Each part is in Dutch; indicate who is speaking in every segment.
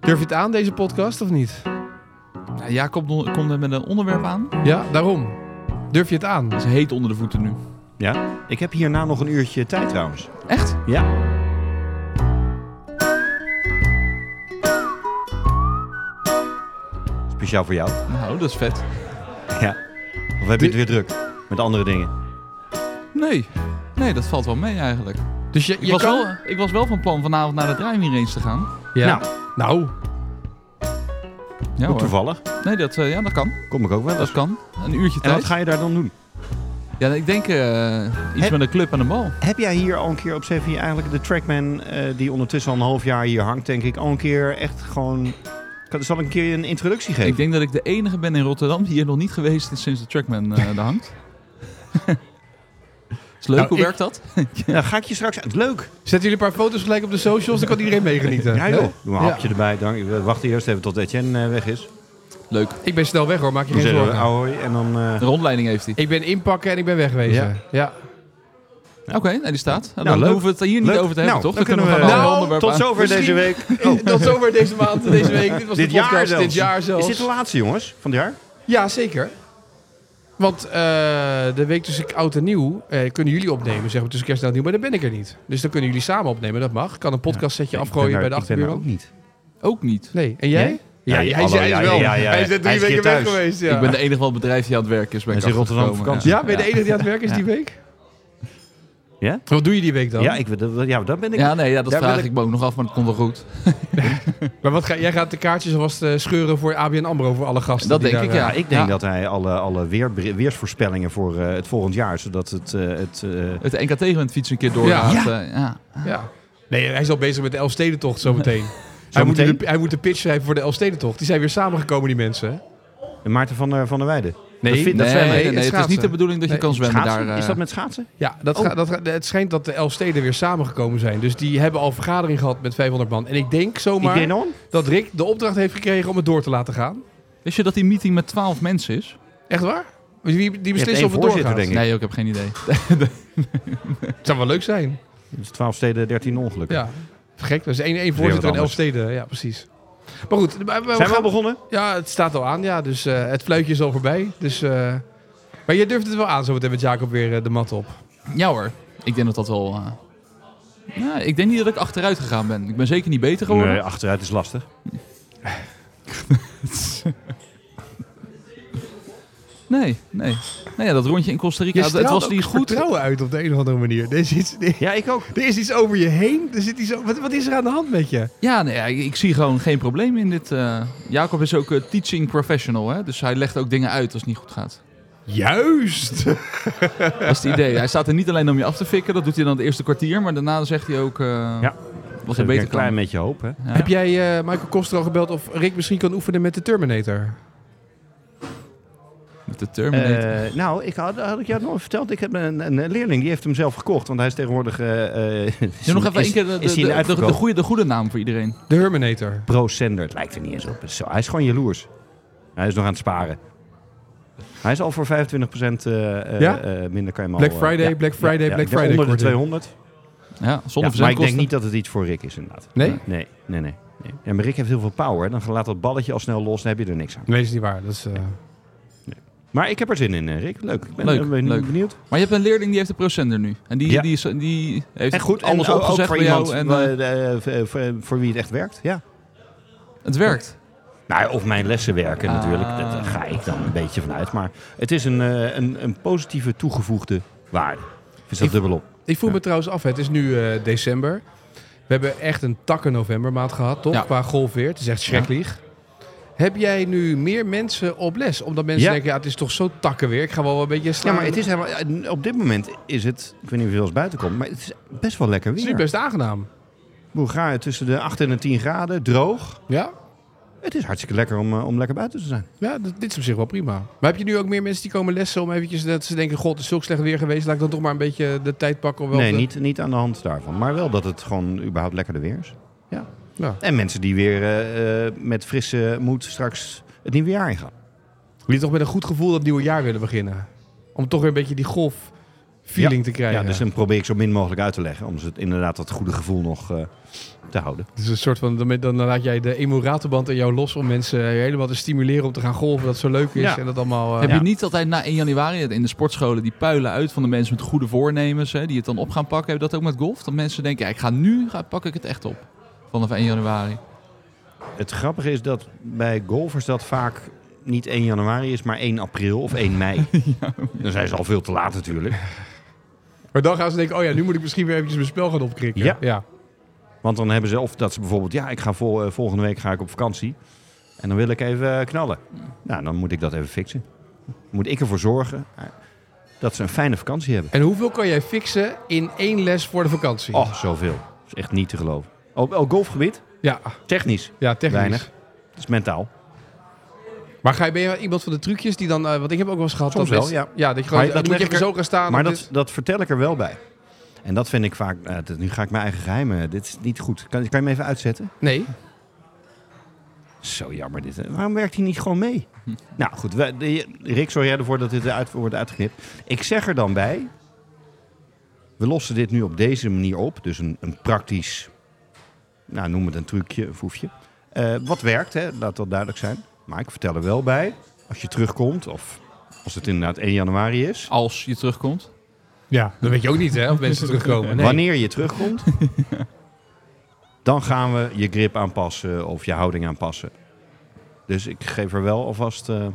Speaker 1: Durf je het aan, deze podcast, of niet?
Speaker 2: Ja, Nou, Jacob don- komt met een onderwerp aan.
Speaker 1: Ja, daarom. Durf je het aan?
Speaker 2: Dat is heet onder de voeten nu.
Speaker 3: Ja? Ik heb hierna nog een uurtje tijd trouwens.
Speaker 2: Echt?
Speaker 3: Ja. Speciaal voor jou.
Speaker 2: Nou, dat is vet.
Speaker 3: Ja. Of heb je het weer druk met andere dingen?
Speaker 2: Nee. Nee, dat valt wel mee eigenlijk.
Speaker 1: Dus je,
Speaker 2: Ik,
Speaker 1: je
Speaker 2: was,
Speaker 1: kan...
Speaker 2: wel, ik was wel van plan vanavond naar de driving range te gaan.
Speaker 1: Ja.
Speaker 3: Nou,
Speaker 1: Nou,
Speaker 2: Ja
Speaker 3: hoe
Speaker 2: hoor.
Speaker 3: toevallig.
Speaker 2: Nee, dat, eh, ja, dat kan.
Speaker 3: Kom ik ook wel
Speaker 2: Dat
Speaker 3: eens.
Speaker 2: kan. Een uurtje
Speaker 3: En
Speaker 2: tijd.
Speaker 3: wat ga je daar dan doen?
Speaker 2: Ja, ik denk eh, iets
Speaker 3: Heb-
Speaker 2: met een club en een bal.
Speaker 3: Heb jij hier al een keer op Sevi eigenlijk de trackman eh, die ondertussen al een half jaar hier hangt, denk ik, al een keer echt gewoon... Kan- Zal ik een keer een introductie geven?
Speaker 2: Ik denk dat ik de enige ben in Rotterdam die hier nog niet geweest is sinds de Trackman eh daar hangt. is leuk,
Speaker 1: Nou,
Speaker 2: hoe
Speaker 1: ik-
Speaker 2: werkt dat?
Speaker 3: Ja, ga ik je straks... uit. Leuk!
Speaker 1: zetten jullie een paar foto's gelijk op de socials, dan kan iedereen meegenieten.
Speaker 3: Ja joh, doe een
Speaker 1: Ja.
Speaker 3: hapje erbij. Dank. We wachten eerst even tot Etienne eh, weg is.
Speaker 2: Leuk.
Speaker 1: Ik ben snel weg hoor, maak je
Speaker 3: Dan
Speaker 1: geen
Speaker 3: zeggen we
Speaker 1: zorgen.
Speaker 3: ahoy en dan... eh,
Speaker 2: Een rondleiding heeft hij.
Speaker 1: Ik ben inpakken en ik ben wegwezen. Ja.
Speaker 2: Oké, nou, die staat. Nou,
Speaker 3: Nou,
Speaker 2: dan
Speaker 3: leuk.
Speaker 2: hoeven we het hier niet
Speaker 3: Leuk.
Speaker 2: over te hebben, toch?
Speaker 3: Nou, dan
Speaker 2: kunnen
Speaker 3: kunnen
Speaker 2: we
Speaker 1: we-
Speaker 2: gewoon
Speaker 1: Nou,
Speaker 2: een onderwerp
Speaker 3: tot
Speaker 2: aan.
Speaker 3: zover
Speaker 1: Misschien-
Speaker 3: deze week. Oh,
Speaker 1: Dat is over deze maand, deze week. Dit was
Speaker 3: dit
Speaker 1: de podcast
Speaker 3: jaar zelfs.
Speaker 1: dit jaar zelfs.
Speaker 3: Is dit de laatste jongens van het jaar?
Speaker 1: Ja, zeker. Want eh, de week tussen oud en nieuw eh, kunnen jullie opnemen, zeg maar tussen kerst en oud en nieuw, maar dan ben ik er niet. Dus dan kunnen jullie samen opnemen, dat mag. Kan een podcastsetje
Speaker 3: Ik ben
Speaker 1: afgooien
Speaker 3: daar-
Speaker 1: bij de
Speaker 3: ik ben daar
Speaker 1: achterbureau.
Speaker 3: ook niet.
Speaker 2: Ook niet.
Speaker 1: Nee, en jij?
Speaker 3: Nee? Nou,
Speaker 1: Ja,
Speaker 3: Ja,
Speaker 1: hij, is-
Speaker 3: hallo,
Speaker 1: hij is
Speaker 3: ja,
Speaker 1: wel.
Speaker 3: ja, ja, ja.
Speaker 1: Hij is net drie
Speaker 3: Hij is
Speaker 1: weken
Speaker 3: hier
Speaker 1: weg
Speaker 3: thuis.
Speaker 1: geweest. Ja.
Speaker 2: Ik ben de enige van het bedrijf die aan het werken is. Ben ik
Speaker 3: Hij is in Rotterdam op
Speaker 2: achtergekomen,
Speaker 3: vakantie.
Speaker 1: ja, ben je de enige die aan het werk is die week?
Speaker 3: Ja?
Speaker 1: Wat doe je die week dan?
Speaker 3: Ja, ik, dat- ja, dat ben ik.
Speaker 2: Ja, nee, ja, dat
Speaker 3: Daar
Speaker 2: vraag
Speaker 3: wil
Speaker 2: ik...
Speaker 3: ik-
Speaker 2: me ook nog af, maar dat komt wel goed.
Speaker 1: Maar wat ga, jij gaat de kaartjes alvast eh, scheuren voor ABN AMRO voor alle gasten.
Speaker 2: Dat
Speaker 1: die
Speaker 2: denk
Speaker 1: daar,
Speaker 2: ik,
Speaker 1: eh,
Speaker 3: Ja, ik denk
Speaker 2: Ja.
Speaker 3: dat hij alle, alle weer, weersvoorspellingen voor eh, het volgend jaar, zodat het... eh, het eh,
Speaker 2: Het NKT event fiets een keer doorgaat. eh, Ja.
Speaker 1: ja. Nee, hij is al bezig met de Elfstedentocht zometeen. hij, moet
Speaker 3: Zometeen?
Speaker 1: nu de, hij moet de pitch schrijven voor de Elfstedentocht. Die zijn weer samengekomen, die mensen.
Speaker 3: Maarten van, der- van der Weijden.
Speaker 1: Nee,
Speaker 3: dat vind,
Speaker 2: Nee,
Speaker 3: dat
Speaker 2: nee,
Speaker 3: zwemmen.
Speaker 2: nee,
Speaker 1: het
Speaker 2: het is niet
Speaker 1: schaatsen.
Speaker 2: de bedoeling dat je
Speaker 1: Nee,
Speaker 2: kan zwemmen daar.
Speaker 3: Schaatsen?
Speaker 2: eh.
Speaker 3: is dat met schaatsen?
Speaker 1: Ja, dat
Speaker 3: Oh.
Speaker 1: ga, dat ga- het schijnt dat de Elfsteden weer samengekomen zijn. Dus die hebben al een vergadering gehad met 500 man. En ik denk zomaar
Speaker 3: Iedereen on?
Speaker 1: dat Rick de opdracht heeft gekregen om het door te laten gaan.
Speaker 2: Wist je dat die meeting met 12 mensen is?
Speaker 1: Echt waar? Wie, die
Speaker 3: één
Speaker 1: beslissen of het
Speaker 3: voorzitter,
Speaker 1: doorgaat.
Speaker 3: denk ik.
Speaker 2: Nee, ook, ik heb geen idee.
Speaker 1: Het zou wel leuk zijn.
Speaker 3: Het is 12 steden, 13 ongelukken.
Speaker 1: Ja, gek. Dat is één, één
Speaker 3: weer wat
Speaker 1: voorzitter in
Speaker 3: anders.
Speaker 1: Elfsteden. Ja, precies. Maar goed. maar- maar we
Speaker 3: Zijn we
Speaker 1: gaan-
Speaker 3: al begonnen?
Speaker 1: Ja, het staat al aan. Ja, dus eh, het fluitje is al voorbij. Dus, eh, maar jij durft het wel aan zo meteen met Jacob weer eh, de mat op.
Speaker 2: Ja hoor, ik denk dat dat wel... eh, ja, ik denk niet dat ik achteruit gegaan ben. Ik ben zeker niet beter geworden.
Speaker 3: Nee, achteruit is lastig.
Speaker 2: Nee, nee. Nou ja, dat rondje in Costa Rica,
Speaker 1: Je
Speaker 2: het- het
Speaker 1: straalt
Speaker 2: was
Speaker 1: ook
Speaker 2: niet goed.
Speaker 1: vertrouwen uit op de een of andere manier. Er is iets,
Speaker 3: Ja, ik ook.
Speaker 1: er is iets over je heen. Er zit iets o- wat, wat is er aan de hand met je?
Speaker 2: Ja, nee, ja, ik, ik zie gewoon geen probleem in dit. eh. Jacob is ook eh, teaching professional, hè? dus hij legt ook dingen uit als het niet goed gaat.
Speaker 1: Juist!
Speaker 2: Dat is het idee. Hij staat er niet alleen om je af te fikken, dat doet hij dan het eerste kwartier, maar daarna zegt hij ook eh, wat hij
Speaker 3: Heb ik
Speaker 2: beter
Speaker 3: een klein
Speaker 2: kan.
Speaker 3: beetje hoop, hè?
Speaker 2: Ja.
Speaker 1: Heb jij eh, Michael Koster al gebeld of Rick misschien kan oefenen met de Terminator?
Speaker 2: Met de Terminator.
Speaker 3: Eh, nou, ik had, had ik jou nog verteld. Ik heb een, een leerling, die heeft hem zelf gekocht. Want hij is tegenwoordig... eh, eh, is
Speaker 2: Doe nog even
Speaker 3: is-
Speaker 2: één keer de,
Speaker 3: is
Speaker 2: de,
Speaker 3: hij
Speaker 2: de,
Speaker 3: een
Speaker 2: de,
Speaker 3: uitverkoop?
Speaker 2: goede, de goede naam voor iedereen.
Speaker 1: De Herminator.
Speaker 3: pro-sender. Het lijkt er niet eens op. Zo, hij is gewoon jaloers. Hij is nog aan het sparen. Hij is al voor 25% eh, eh,
Speaker 1: Ja?
Speaker 3: eh, minder kan je hem
Speaker 1: Black
Speaker 3: al, eh,
Speaker 1: Friday,
Speaker 3: ja,
Speaker 1: Black
Speaker 3: ja,
Speaker 1: Friday,
Speaker 3: ja,
Speaker 1: Black
Speaker 3: ik denk
Speaker 1: Friday.
Speaker 3: Onder de
Speaker 1: korting.
Speaker 3: 200.
Speaker 2: Ja, zonder
Speaker 3: Ja, maar ik denk
Speaker 2: verzendkosten.
Speaker 3: niet dat het iets voor Rick is inderdaad.
Speaker 1: Nee?
Speaker 3: Nee, nee, nee. nee. Ja, maar Rick heeft heel veel power. Dan laat dat balletje al snel los en heb je er niks aan.
Speaker 1: Nee, dat is niet waar. Dat is, eh,
Speaker 3: Maar ik heb er zin in, eh, Rick. Leuk. Ik ben,
Speaker 2: Leuk,
Speaker 3: eh, ben
Speaker 2: leuk.
Speaker 3: benieuwd.
Speaker 2: Maar je hebt een leerling die heeft de procenter nu. En die,
Speaker 3: Ja.
Speaker 2: die, is- die heeft
Speaker 3: En goed,
Speaker 2: alles
Speaker 3: en ook- ook
Speaker 2: opgezegd
Speaker 3: voor
Speaker 2: bij jou.
Speaker 3: iemand
Speaker 2: En, eh,
Speaker 3: eh, eh, voor- voor- voor wie het echt werkt. Ja.
Speaker 2: het werkt.
Speaker 3: Nou, ja, of mijn lessen werken natuurlijk. Dat, Daar ga ik dan een beetje vanuit. Maar het is een, eh, een, een positieve toegevoegde waarde. Is dat
Speaker 1: Ik-
Speaker 3: dubbelop?
Speaker 1: ik voel
Speaker 3: Ja.
Speaker 1: me trouwens af. hè. Het is nu eh, december. We hebben echt een takken novembermaand gehad, toch?
Speaker 2: Ja.
Speaker 1: Qua golfweer. Het is echt schreklieg. Heb jij nu meer mensen op les? Omdat mensen
Speaker 3: Ja.
Speaker 1: denken, ja, het is toch zo takkenweer. Ik ga wel een beetje
Speaker 3: Ja,
Speaker 1: slaan.
Speaker 3: maar het is helemaal, op dit moment is het, ik weet niet of je wel eens buiten komt, maar het is best wel lekker
Speaker 1: Het is nu
Speaker 3: weer.
Speaker 1: best aangenaam.
Speaker 3: Hoe ga je tussen de 8 en de 10 graden, droog.
Speaker 1: Ja?
Speaker 3: Het is hartstikke lekker om, eh, om lekker buiten te zijn.
Speaker 1: Ja, d- dit is op zich wel prima. Maar heb je nu ook meer mensen die komen lessen om eventjes dat ze denken, god, het is zulk slecht weer geweest. Laat ik dan toch maar een beetje de tijd pakken om wel
Speaker 3: Nee,
Speaker 1: te-
Speaker 3: niet, niet aan de hand daarvan. Maar wel dat het gewoon überhaupt lekkerder weer is. Ja.
Speaker 1: Ja.
Speaker 3: En mensen die weer eh, eh, met frisse moed straks het nieuwe jaar ingaan.
Speaker 1: Wil je toch met een goed gevoel dat nieuwe jaar willen beginnen? Om toch weer een beetje die golf feeling te krijgen.
Speaker 3: Ja, dus dan probeer ik zo min mogelijk uit te leggen. Om ze het, inderdaad dat goede gevoel nog eh, te houden.
Speaker 1: Het is een soort van, dan, dan laat jij de emoratelband in jou los om mensen eh, helemaal te stimuleren om te gaan golven. Dat het zo leuk is
Speaker 3: Ja.
Speaker 1: en dat allemaal... eh,
Speaker 2: Heb
Speaker 3: Ja.
Speaker 2: je niet altijd na 1 januari in de sportscholen die puilen uit van de mensen met goede voornemens, hè, die het dan op gaan pakken? Heb je dat ook met golf? Dat mensen denken, ja, ik ga nu, ga, pak ik het echt op. Vanaf 1 januari.
Speaker 3: Het grappige is dat bij golfers dat vaak niet 1 januari is, maar 1 april of 1 mei. Dan zijn ze al veel te laat natuurlijk.
Speaker 1: Maar dan gaan ze denken, oh ja, nu moet ik misschien weer eventjes mijn spel gaan opkrikken.
Speaker 3: Ja.
Speaker 1: ja.
Speaker 3: Want dan hebben ze of dat ze bijvoorbeeld, ja, ik ga vol, eh, volgende week ga ik op vakantie. En dan wil ik even eh, knallen. Nou, dan moet ik dat even fixen. Moet ik ervoor zorgen eh, dat ze een fijne vakantie hebben.
Speaker 1: En hoeveel kan jij fixen in één les voor de vakantie?
Speaker 3: Oh, zoveel. Dat is echt niet te geloven. Op oh, golfgebied?
Speaker 1: Ja,
Speaker 3: Technisch.
Speaker 1: ja, technisch.
Speaker 3: Weinig. Dat is mentaal.
Speaker 1: Maar ga je, ben je wel iemand van de trucjes die dan... eh want ik heb ook wel eens gehad
Speaker 3: Soms
Speaker 1: dat
Speaker 3: wel,
Speaker 1: mensen-
Speaker 3: ja.
Speaker 1: dat je gewoon...
Speaker 3: Maar dat
Speaker 1: dan moet je
Speaker 3: leg ik
Speaker 1: even zo gaan staan.
Speaker 3: Maar
Speaker 1: dat
Speaker 3: dat,
Speaker 1: is-
Speaker 3: dat vertel ik er wel bij. En dat vind ik vaak... eh, dit- nu ga ik mijn eigen geheimen... eh, Dit is niet goed. Kan, kan je hem even uitzetten?
Speaker 1: Nee.
Speaker 3: Zo jammer dit. hè. Waarom werkt hij niet gewoon mee? Nou goed, wij- de- Rick, zorg jij ervoor dat dit eruit wordt uitgeknipt. Ik zeg er dan bij... We lossen dit nu op deze manier op. Dus een, een praktisch... Nou, noem het een trucje, een foefje. Eh, wat werkt, hè? laat dat duidelijk zijn. Maar ik vertel er wel bij... Als je terugkomt of als het inderdaad 1 januari is...
Speaker 2: Als je terugkomt.
Speaker 1: Ja. Dat weet je ook niet, hè, of mensen terugkomen. Nee.
Speaker 3: Wanneer je terugkomt, dan gaan we je grip aanpassen of je houding aanpassen. Dus ik geef er wel alvast. eh,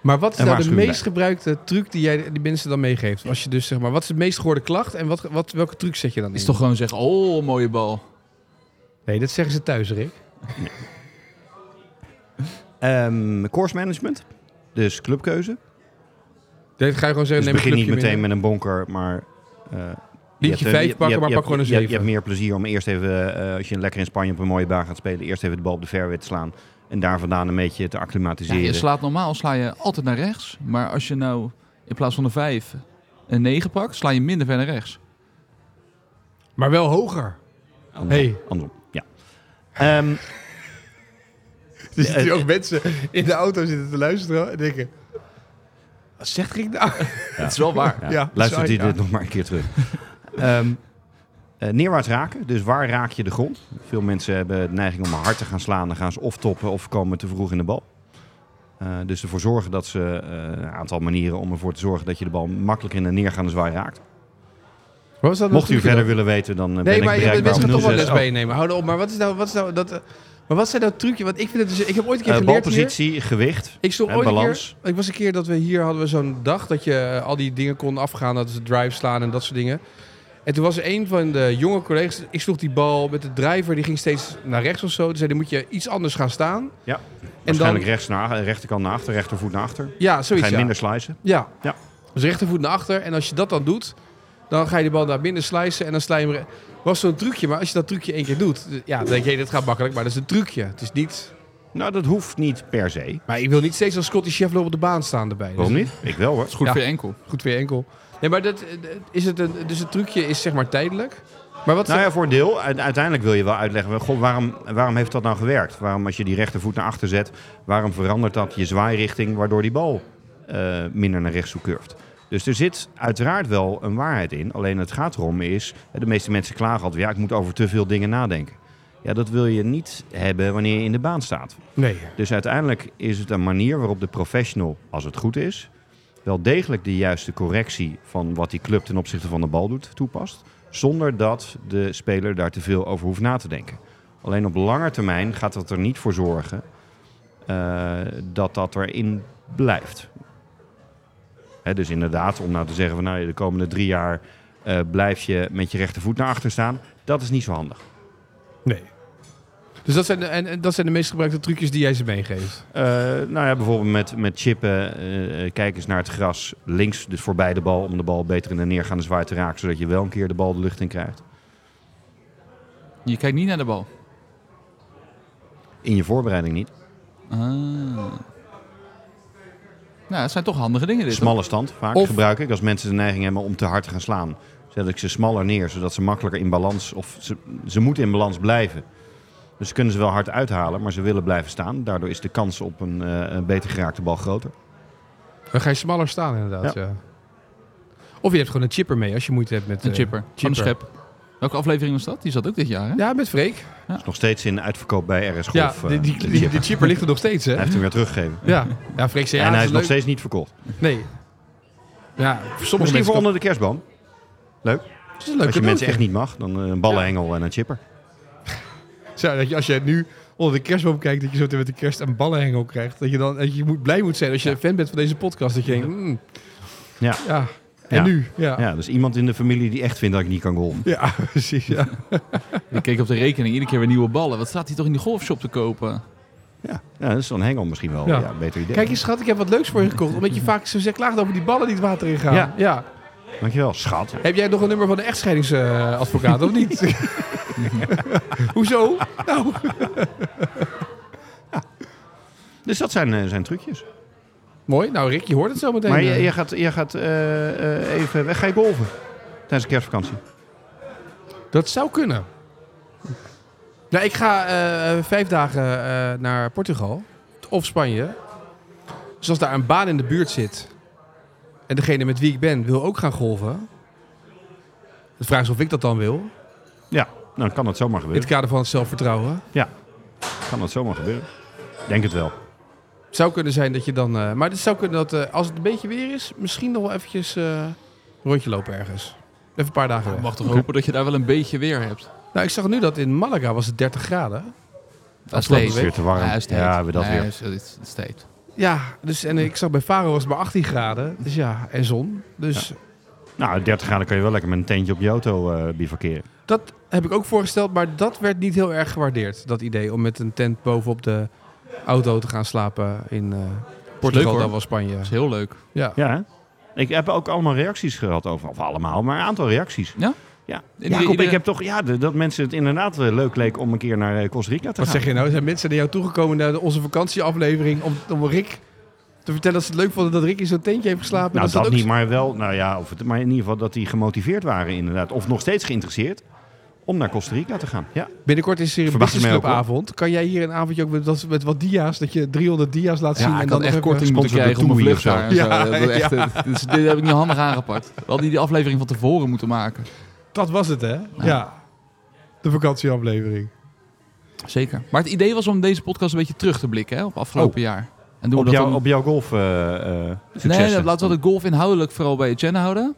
Speaker 1: Maar wat is
Speaker 3: En
Speaker 1: nou de
Speaker 3: waarschuwing
Speaker 1: meest gebruikte truc die jij die mensen dan meegeeft? Als je dus, zeg maar, wat is de meest gehoorde klacht en wat, wat, welke truc zet je dan in?
Speaker 2: Is toch gewoon zeggen, oh, mooie bal.
Speaker 1: Nee, dat zeggen ze thuis, Rick.
Speaker 3: ehm course management. Dus clubkeuze.
Speaker 1: Dat ga je gewoon
Speaker 3: Dus
Speaker 1: zeggen, neem
Speaker 3: begin
Speaker 1: een
Speaker 3: niet
Speaker 1: clubje
Speaker 3: meteen
Speaker 1: mee.
Speaker 3: met een bonker, maar. eh, je
Speaker 1: vijf
Speaker 3: hebt, eh, je- je
Speaker 1: pakken,
Speaker 3: hebt-
Speaker 1: maar
Speaker 3: je
Speaker 1: pak
Speaker 3: hebt-
Speaker 1: gewoon een
Speaker 3: je hebt- Je
Speaker 1: zeven.
Speaker 3: hebt meer plezier om eerst even, eh, als je lekker in Spanje op een mooie baan gaat spelen, eerst even de bal op de fairway te slaan. En daar vandaan een beetje te
Speaker 2: Ja,
Speaker 3: acclimatiseren.
Speaker 2: je slaat normaal sla je altijd naar rechts. Maar als je nou in plaats van een 5 een 9 pakt, sla je minder ver naar rechts.
Speaker 1: Maar wel hoger.
Speaker 3: Andersom.
Speaker 1: Hey.
Speaker 3: Andersom, ja. Ehm,
Speaker 1: Er
Speaker 3: zitten hier ook
Speaker 1: mensen in de auto zitten te luisteren en denken... Wat zegt Rick nou?
Speaker 2: Dat is wel waar.
Speaker 3: Ja,
Speaker 1: Ja,
Speaker 3: luistert
Speaker 1: sorry,
Speaker 3: u
Speaker 1: ja.
Speaker 3: dit nog maar een keer terug. Ehm, eh, neerwaarts raken, dus waar raak je de grond? Veel mensen hebben de neiging om hard te gaan slaan. Dan gaan ze of toppen of komen te vroeg in de bal. Eh, dus ervoor zorgen dat ze eh, een aantal manieren om ervoor te zorgen dat je de bal makkelijk in de neergaande zwaai raakt.
Speaker 1: Wat was dat
Speaker 3: Mocht u
Speaker 1: natuurlijk
Speaker 3: verder
Speaker 1: dan?
Speaker 3: willen weten, dan eh, ben
Speaker 1: Nee,
Speaker 3: ik
Speaker 1: maar je bent
Speaker 3: bereikbaar
Speaker 1: mensen gaan
Speaker 3: op
Speaker 1: toch wel les
Speaker 3: 06.
Speaker 1: meenemen. Hou op. Maar wat is nou, wat is nou dat... eh, Maar wat zijn nou trucje? Want ik vind het dus... Ik heb ooit een keer
Speaker 3: Eh,
Speaker 1: geleerd hier-
Speaker 3: balpositie, gewicht.
Speaker 1: Ik stond
Speaker 3: En
Speaker 1: ooit een
Speaker 3: balans.
Speaker 1: keer, ik was een keer dat we hier hadden we zo'n dag dat je eh, al die dingen kon afgaan, dat ze drive slaan en dat soort dingen. En toen was er een van de jonge collega's, ik sloeg die bal met de driver, die ging steeds naar rechts of zo. Toen zei hij, moet je iets anders gaan staan.
Speaker 3: Ja,
Speaker 1: en
Speaker 3: waarschijnlijk
Speaker 1: dan,
Speaker 3: rechts naar, rechterkant naar achter, rechtervoet naar achter.
Speaker 1: ja,
Speaker 3: Ga
Speaker 1: zoiets.
Speaker 3: je
Speaker 1: Ja.
Speaker 3: minder slicen.
Speaker 1: ja.
Speaker 3: Ja.
Speaker 1: Dus rechtervoet naar achter. En als je dat dan doet, dan ga je de bal naar binnen slicen en dan sla je hem. re- was zo'n trucje, maar als je dat trucje één keer doet, d- ja, dan denk je, dit gaat makkelijk, maar dat is een trucje. Het is niet.
Speaker 3: Nou, dat hoeft niet per se.
Speaker 1: Maar ik wil niet steeds als Scottie Scheffler op de baan staan erbij. Dus
Speaker 3: Waarom niet? Ik wel hoor.
Speaker 2: Dat is goed
Speaker 1: Ja.
Speaker 2: voor je enkel.
Speaker 1: Goed weer enkel. Nee, maar dat, eh, is het een, dus het trucje is zeg maar tijdelijk. Maar wat is
Speaker 3: Nou
Speaker 1: het-
Speaker 3: ja, voor een deel. Uite- Uiteindelijk wil je wel uitleggen, goh, waarom, waarom heeft dat nou gewerkt? Waarom als je die rechtervoet naar achter zet, waarom verandert dat je zwaairichting, waardoor die bal eh, minder naar rechts toe curft? Dus er zit uiteraard wel een waarheid in. Alleen het gaat erom is, hè, de meeste mensen klagen altijd, ja, ik moet over te veel dingen nadenken. Ja, dat wil je niet hebben wanneer je in de baan staat.
Speaker 1: Nee.
Speaker 3: Dus uiteindelijk is het een manier waarop de professional, als het goed is, wel degelijk de juiste correctie van wat die club ten opzichte van de bal doet toepast. Zonder dat de speler daar te veel over hoeft na te denken. Alleen op lange termijn gaat dat er niet voor zorgen eh, dat dat erin blijft. Hè, dus inderdaad, om nou te zeggen van nou, ja, de komende drie jaar eh, blijf je met je rechtervoet naar achter staan. Dat is niet zo handig.
Speaker 1: Nee. Dus dat zijn, de, en, en dat zijn de meest gebruikte trucjes die jij ze meegeeft.
Speaker 3: Eh, nou ja, bijvoorbeeld met, met chippen. eh, eh, kijk eens naar het gras links, dus voorbij de bal. Om de bal beter in de neergaande zwaai te raken. Zodat je wel een keer de bal de lucht in krijgt.
Speaker 2: Je kijkt niet naar de bal.
Speaker 3: In je voorbereiding niet.
Speaker 2: Ah. Nou, het zijn toch handige dingen dit.
Speaker 3: Smalle stand vaak
Speaker 1: Of-
Speaker 3: gebruik ik. Als mensen de neiging hebben om te hard te gaan slaan. Zet ik ze smaller neer, zodat ze makkelijker in balans... Of ze, ze moeten in balans blijven. Dus ze kunnen ze wel hard uithalen, maar ze willen blijven staan. Daardoor is de kans op een, eh, een beter geraakte bal groter.
Speaker 1: Dan ga je smaller staan inderdaad. Ja. Of je hebt gewoon een chipper mee als je moeite hebt met...
Speaker 2: Een
Speaker 1: eh,
Speaker 2: chipper. Van de schep. Welke aflevering was dat? Die zat ook dit jaar, hè?
Speaker 1: Ja, met Freek.
Speaker 3: is nog steeds in uitverkoop bij RS
Speaker 1: Ja,
Speaker 3: Golf.
Speaker 1: die,
Speaker 3: eh,
Speaker 1: die,
Speaker 3: de
Speaker 1: die-
Speaker 3: chip.
Speaker 1: die chipper ligt er nog steeds, hè?
Speaker 3: Hij heeft hem weer teruggegeven.
Speaker 1: Ja, ja Freek zei... Ja,
Speaker 3: en hij is
Speaker 1: het
Speaker 3: nog steeds niet verkocht.
Speaker 1: leuk. Nee. Ja, voor sommige
Speaker 3: Misschien
Speaker 1: mensen...
Speaker 3: voor onder de kerstboom.
Speaker 1: het is een leuk
Speaker 3: Als je mensen
Speaker 1: cadeautje.
Speaker 3: echt niet mag, dan eh, een ballenhengel en een chipper.
Speaker 1: Zo, dat je, als je nu onder de kerstboom kijkt, dat je zo meteen met de kerst een ballenhengel krijgt. Dat je dan dat je moet, blij moet zijn als je fan bent van deze podcast. Dat je denkt, mm,
Speaker 3: Ja.
Speaker 1: ja. En
Speaker 3: Ja.
Speaker 1: nu? Ja. ja.
Speaker 3: Ja, dus iemand in de familie die echt vindt dat ik niet kan golven.
Speaker 1: precies. Ja.
Speaker 2: Ik keek op de rekening, iedere keer weer nieuwe ballen. Wat staat hier toch in de golfshop te kopen?
Speaker 3: Ja, ja dat is dan een hengel misschien wel.
Speaker 1: Ja.
Speaker 3: Ja, beter idee.
Speaker 1: Kijk eens, schat, ik heb wat leuks voor je gekocht. Omdat je vaak zo zegt, klaagt over die ballen die het water in gaan.
Speaker 3: Ja. Dankjewel, schat.
Speaker 1: Heb jij nog een nummer van de echtscheidingsadvocaat, of niet? Hoezo? Nou,
Speaker 3: Dus dat zijn, eh, zijn trucjes.
Speaker 1: mooi. Nou, Rick, je hoort het zo meteen.
Speaker 3: Maar je,
Speaker 1: Eh,
Speaker 3: je gaat, je gaat eh, eh, even weg. Ga je golven? Tijdens de kerstvakantie.
Speaker 1: Dat zou kunnen. Nou, ik ga eh, vijf dagen eh, naar Portugal of Spanje. Dus als daar een baan in de buurt zit en degene met wie ik ben wil ook gaan golven. De vraag is of ik dat dan wil.
Speaker 3: Ja, nou kan dat zomaar
Speaker 1: In het
Speaker 3: gebeuren.
Speaker 1: kader van het zelfvertrouwen.
Speaker 3: Kan dat zomaar gebeuren. Denk het wel.
Speaker 1: Het zou kunnen zijn dat je dan. eh, maar het zou kunnen dat eh, als het een beetje weer is, misschien nog wel eventjes eh, een rondje lopen ergens. Even een paar dagen weg.
Speaker 2: Ik mag toch hopen dat je daar wel een beetje weer hebt.
Speaker 1: Nou, ik zag nu dat in Malaga was het 30 graden.
Speaker 2: Dat is
Speaker 1: klopt.
Speaker 3: Het is weer te warm.
Speaker 2: Ja, is het heet.
Speaker 3: Ja, we dat
Speaker 2: Nee,
Speaker 3: weer.
Speaker 2: is- het is- het is heet.
Speaker 1: Ja, dus, en ik zag bij Faro was het maar 18 graden. Dus ja, en zon. Dus
Speaker 3: Nou, 30 graden kan je wel lekker met een tentje op je auto eh bivakeren.
Speaker 1: dat heb ik ook voorgesteld, maar dat werd niet heel erg gewaardeerd. Dat idee om met een tent bovenop de auto te gaan slapen in eh,
Speaker 2: leuk,
Speaker 1: Portugal,
Speaker 2: hoor.
Speaker 1: dan wel Spanje.
Speaker 2: Dat is heel leuk.
Speaker 1: Ja.
Speaker 3: Ja, hè? Ik heb ook allemaal reacties gehad over, of allemaal, maar een aantal reacties.
Speaker 2: Ja?
Speaker 3: Ja,
Speaker 2: Ieder-
Speaker 3: Jacob,
Speaker 2: ieder-
Speaker 3: ik heb toch, ja, de- dat mensen het inderdaad eh, leuk leek om een keer naar eh, Costa Rica te
Speaker 1: Wat
Speaker 3: gaan.
Speaker 1: zeg je nou? Er Zijn mensen naar jou toegekomen naar onze vakantieaflevering om, om Rick te vertellen dat ze het leuk vonden dat Rick in zo'n tentje heeft geslapen?
Speaker 3: Nou,
Speaker 1: ze
Speaker 3: dat,
Speaker 1: ook-
Speaker 3: niet, maar wel, nou ja, of het, maar in ieder geval dat die gemotiveerd waren inderdaad. Of nog steeds geïnteresseerd om naar Costa Rica te gaan. Ja,
Speaker 1: Binnenkort is er een
Speaker 3: Verbaas je mij ook, hoor.
Speaker 1: businessclubavond. Kan jij hier een avondje ook met, dat- met wat dia's, dat je 300 dia's laat zien?
Speaker 2: Ja, ik had
Speaker 1: nog
Speaker 2: echt
Speaker 1: even-
Speaker 2: korting moeten
Speaker 3: Sponsor de
Speaker 2: krijgen op mijn
Speaker 3: Toei of
Speaker 2: vlucht daar. en
Speaker 1: zo.
Speaker 2: zo.
Speaker 1: Ja,
Speaker 2: Dat was echt,
Speaker 1: ja.
Speaker 2: eh, dus dit heb ik niet handig aangepakt. We hadden die aflevering van tevoren moeten maken.
Speaker 1: Dat was het, hè? Ja. De vakantieaflevering.
Speaker 2: Zeker. Maar het idee was om deze podcast een beetje terug te blikken hè, op afgelopen jaar. En doen
Speaker 3: op,
Speaker 2: we dat
Speaker 3: jou,
Speaker 2: dan...
Speaker 3: op jouw golf eh, eh,
Speaker 2: nee,
Speaker 3: successen.
Speaker 2: dat, laten we de golf inhoudelijk vooral bij Jen houden.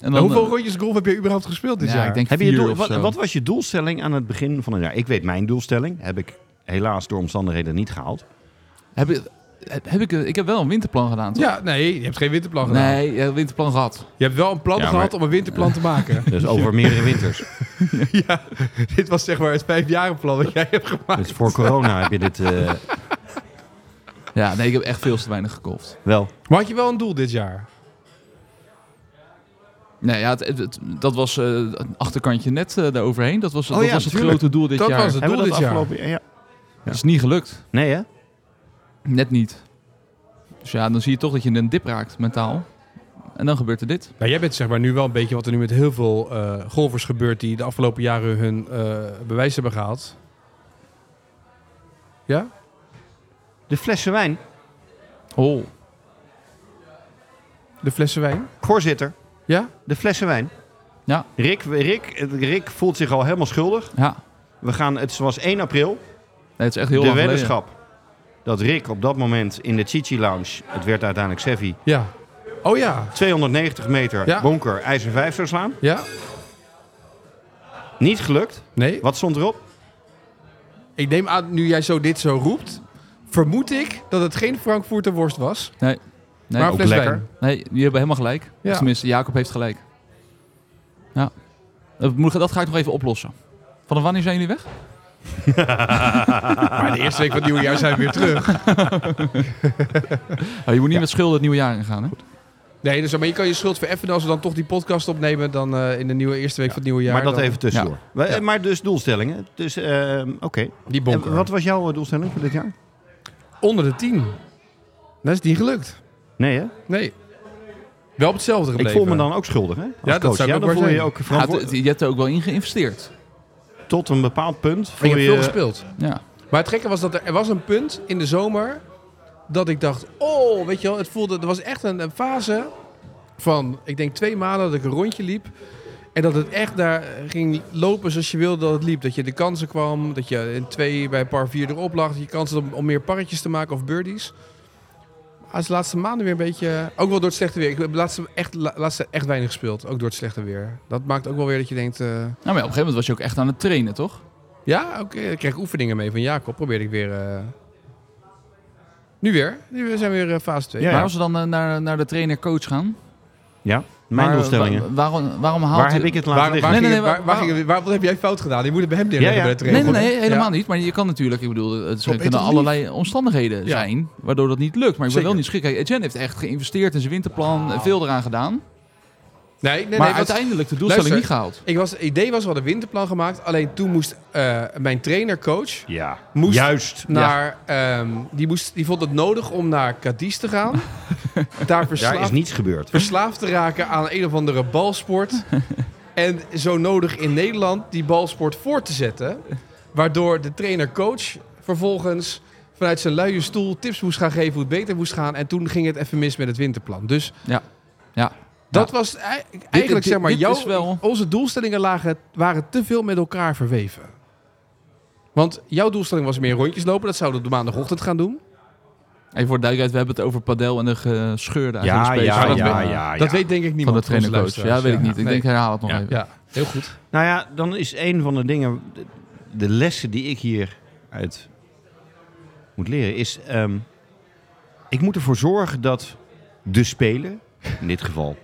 Speaker 2: En dan,
Speaker 1: hoeveel
Speaker 2: eh,
Speaker 1: rondjes golf heb je überhaupt gespeeld dit
Speaker 2: ja,
Speaker 1: jaar?
Speaker 2: ik denk
Speaker 3: Heb je
Speaker 2: vier
Speaker 3: je doel-
Speaker 2: of
Speaker 3: wat,
Speaker 2: zo.
Speaker 3: wat was je doelstelling aan het begin van het jaar? Ik weet mijn doelstelling. Heb ik helaas door omstandigheden niet gehaald.
Speaker 2: Heb ik, heb, heb ik, ik heb wel een winterplan gedaan, toch?
Speaker 1: Ja, nee, je hebt geen winterplan gedaan.
Speaker 2: Nee, ja, winterplan gehad.
Speaker 1: Je hebt wel een plan
Speaker 3: Ja, maar-
Speaker 1: gehad om een winterplan te maken.
Speaker 3: Dus over meerdere winters.
Speaker 1: ja, dit was zeg maar het vijfjarenplan dat jij hebt gemaakt.
Speaker 3: Dus voor corona heb je dit eh,
Speaker 2: Ja, nee, ik heb echt veel te weinig gekocht.
Speaker 3: wel.
Speaker 1: Maar had je wel een doel dit jaar?
Speaker 2: Nee, ja, het, het- het- dat was eh, een achterkantje net eh, daaroverheen. Dat was,
Speaker 3: Oh
Speaker 2: dat
Speaker 3: ja,
Speaker 2: was het
Speaker 3: tuurlijk.
Speaker 2: grote doel dit
Speaker 1: Dat
Speaker 2: jaar.
Speaker 1: was het.
Speaker 3: Hebben we
Speaker 1: doel
Speaker 3: dat
Speaker 1: dit jaar?
Speaker 3: afgelopen jaar? Ja.
Speaker 2: Dat is niet gelukt.
Speaker 3: Nee hè?
Speaker 2: Net niet. Dus ja, dan zie je toch dat je een dip raakt mentaal. En dan gebeurt er dit.
Speaker 1: Nou, jij bent zeg maar nu wel een beetje wat er nu met heel veel eh, golfers gebeurt die de afgelopen jaren hun eh, bewijs hebben gehaald. Ja?
Speaker 3: De flessen wijn.
Speaker 2: Oh,
Speaker 1: De flessen wijn?
Speaker 3: Voorzitter,
Speaker 1: Ja?
Speaker 3: de flessen wijn.
Speaker 2: Ja.
Speaker 3: Rick, Rick, Rick voelt zich al helemaal schuldig.
Speaker 2: ja.
Speaker 3: We gaan, het was 1 april,
Speaker 2: Nee, het is echt heel
Speaker 3: de
Speaker 2: lang geleden.
Speaker 3: weddenschap. Dat Rick op dat moment in de Chichi Lounge, het werd uiteindelijk Sevi,
Speaker 1: Ja. Oh ja.
Speaker 3: 290 meter
Speaker 1: Ja.
Speaker 3: bonker ijzer 5 zou slaan.
Speaker 1: Ja?
Speaker 3: Niet gelukt.
Speaker 1: Nee?
Speaker 3: Wat stond erop?
Speaker 1: Ik neem aan, nu jij zo dit zo roept, vermoed ik dat het geen Frankfurter worst was.
Speaker 2: Nee,
Speaker 1: maar
Speaker 3: ook
Speaker 1: een fles
Speaker 3: lekker.
Speaker 1: wijn.
Speaker 2: Nee, jullie hebben helemaal gelijk.
Speaker 1: Ja.
Speaker 2: Tenminste, Jacob heeft gelijk. Ja. Dat moet- dat ga ik nog even oplossen. Vanaf wanneer zijn jullie weg?
Speaker 1: Maar de eerste week van het nieuwe jaar zijn we weer terug.
Speaker 2: Oh, je moet niet met schulden het nieuwe jaar ingaan, hè?
Speaker 1: Nee, dus, maar je kan je schuld vereffenen als we dan toch die podcast opnemen dan eh, in de nieuwe eerste week van het nieuwe jaar.
Speaker 3: maar dat
Speaker 1: dan-
Speaker 3: even tussendoor. We- eh, Maar dus doelstellingen. Dus, ehm, oké.
Speaker 1: Die
Speaker 3: En
Speaker 1: bonker.
Speaker 3: Wat was jouw eh, doelstelling voor dit jaar?
Speaker 1: Onder de 10. Dat is niet gelukt.
Speaker 3: Nee hè?
Speaker 1: Nee. Wel op hetzelfde
Speaker 3: Ik
Speaker 1: gebleven.
Speaker 3: voel me dan ook schuldig hè? Als
Speaker 1: Ja, dat
Speaker 3: coach.
Speaker 1: zou ik ook
Speaker 3: ja, dan
Speaker 1: maar
Speaker 3: voel je je
Speaker 1: zijn.
Speaker 3: ook
Speaker 2: Ja, het-
Speaker 3: verantwoordelijk.
Speaker 2: het- je hebt er ook wel in geïnvesteerd.
Speaker 3: Tot een bepaald punt
Speaker 1: Ik
Speaker 3: voel
Speaker 1: heb
Speaker 3: je...
Speaker 1: veel gespeeld.
Speaker 2: Ja.
Speaker 1: Maar het gekke was dat er, er was een punt in de zomer dat ik dacht, oh, weet je wel, het voelde, er was echt een, een fase van, ik denk twee maanden dat ik een rondje liep. En dat het echt daar ging lopen zoals je wilde dat het liep. Dat je de kansen kwam, dat je in twee bij par vier erop lag. Dat je kansen had om, om meer parretjes te maken of birdies. Maar is de laatste maanden weer een beetje... Ook wel door het slechte weer. Ik heb de laatste echt, la- laatste echt weinig gespeeld. Ook door het slechte weer. Dat maakt ook wel weer dat je denkt... eh,
Speaker 2: Nou, maar ja, op een gegeven moment was je ook echt aan het trainen, toch?
Speaker 1: ja, oké. Ik kreeg oefeningen mee van Jacob. Probeerde ik weer... eh, Nu weer. Nu zijn we weer eh, fase 2.
Speaker 3: Ja, ja.
Speaker 2: Maar als we dan eh, naar, naar de trainer-coach gaan...
Speaker 3: Ja, mijn
Speaker 2: waar-
Speaker 3: doelstellingen.
Speaker 2: wa- waarom, waarom haalt
Speaker 3: Waar
Speaker 2: u-
Speaker 3: heb ik het laten
Speaker 1: Waar, waar,
Speaker 3: liggen?
Speaker 1: ging
Speaker 2: Nee, nee,
Speaker 1: het-
Speaker 2: nee,
Speaker 1: waar- waar
Speaker 2: waar-
Speaker 1: ging het- waar- wat heb jij fout gedaan? Je moet het bij hem neerleggen
Speaker 3: Ja, ja.
Speaker 1: bij de
Speaker 2: Nee,
Speaker 1: trainer.
Speaker 2: nee, nee,
Speaker 1: Ja.
Speaker 2: helemaal niet. Maar je kan natuurlijk, ik bedoel, het
Speaker 1: Rob,
Speaker 2: zijn,
Speaker 1: eet
Speaker 2: kunnen
Speaker 1: het lief.
Speaker 2: allerlei omstandigheden
Speaker 1: Ja.
Speaker 2: zijn waardoor dat niet lukt. Maar ik ben
Speaker 1: Zeker.
Speaker 2: wel niet schrik. Kijk, Etienne heeft echt geïnvesteerd in zijn winterplan, eh, veel eraan gedaan.
Speaker 1: Nee, nee, nee,
Speaker 2: maar
Speaker 1: wat-
Speaker 2: uiteindelijk de doelstelling
Speaker 1: Luister.
Speaker 2: niet gehaald.
Speaker 1: ik was, het idee was, we hadden een winterplan gemaakt. Alleen toen moest eh, mijn trainercoach...
Speaker 3: Ja,
Speaker 1: Moest
Speaker 3: juist.
Speaker 1: Naar, ehm, die, moest, die vond het nodig om naar Cadiz te gaan. Daar
Speaker 3: Daar is
Speaker 1: verslaafd,
Speaker 3: niets gebeurd.
Speaker 1: verslaafd te raken aan een of andere balsport. en zo nodig in Nederland die balsport voor te zetten. Waardoor de trainer-coach vervolgens vanuit zijn luie stoel tips moest gaan geven hoe het beter moest gaan. En toen ging het even mis met het winterplan. Dus
Speaker 2: Ja.
Speaker 1: Dat was ei- eigenlijk,
Speaker 2: dit-
Speaker 1: zeg maar,
Speaker 2: dit
Speaker 1: jouw,
Speaker 2: is wel-
Speaker 1: onze doelstellingen lagen, waren te veel met elkaar verweven. Want jouw doelstelling was meer rondjes lopen. Dat zouden we op maandagochtend gaan doen.
Speaker 2: Even voor de duidelijkheid, we hebben het over padel en de gescheurde eigenlijk
Speaker 3: Ja,
Speaker 2: space
Speaker 3: ja,
Speaker 1: Maar
Speaker 2: van
Speaker 3: ja,
Speaker 1: dat
Speaker 2: de-
Speaker 3: ja,
Speaker 1: weet-
Speaker 3: ja.
Speaker 1: Dat weet denk ik
Speaker 2: van de
Speaker 1: niemand onze
Speaker 2: trainer-coach. Ja,
Speaker 1: luisteraars.
Speaker 2: weet ik niet. Ik
Speaker 1: nee.
Speaker 2: denk, herhaal het nog
Speaker 3: Ja.
Speaker 2: even.
Speaker 1: Ja, heel goed.
Speaker 3: Nou ja, dan is een van de dingen, de, de lessen die ik hieruit moet leren, is: ehm, ik moet ervoor zorgen dat de speler, in dit geval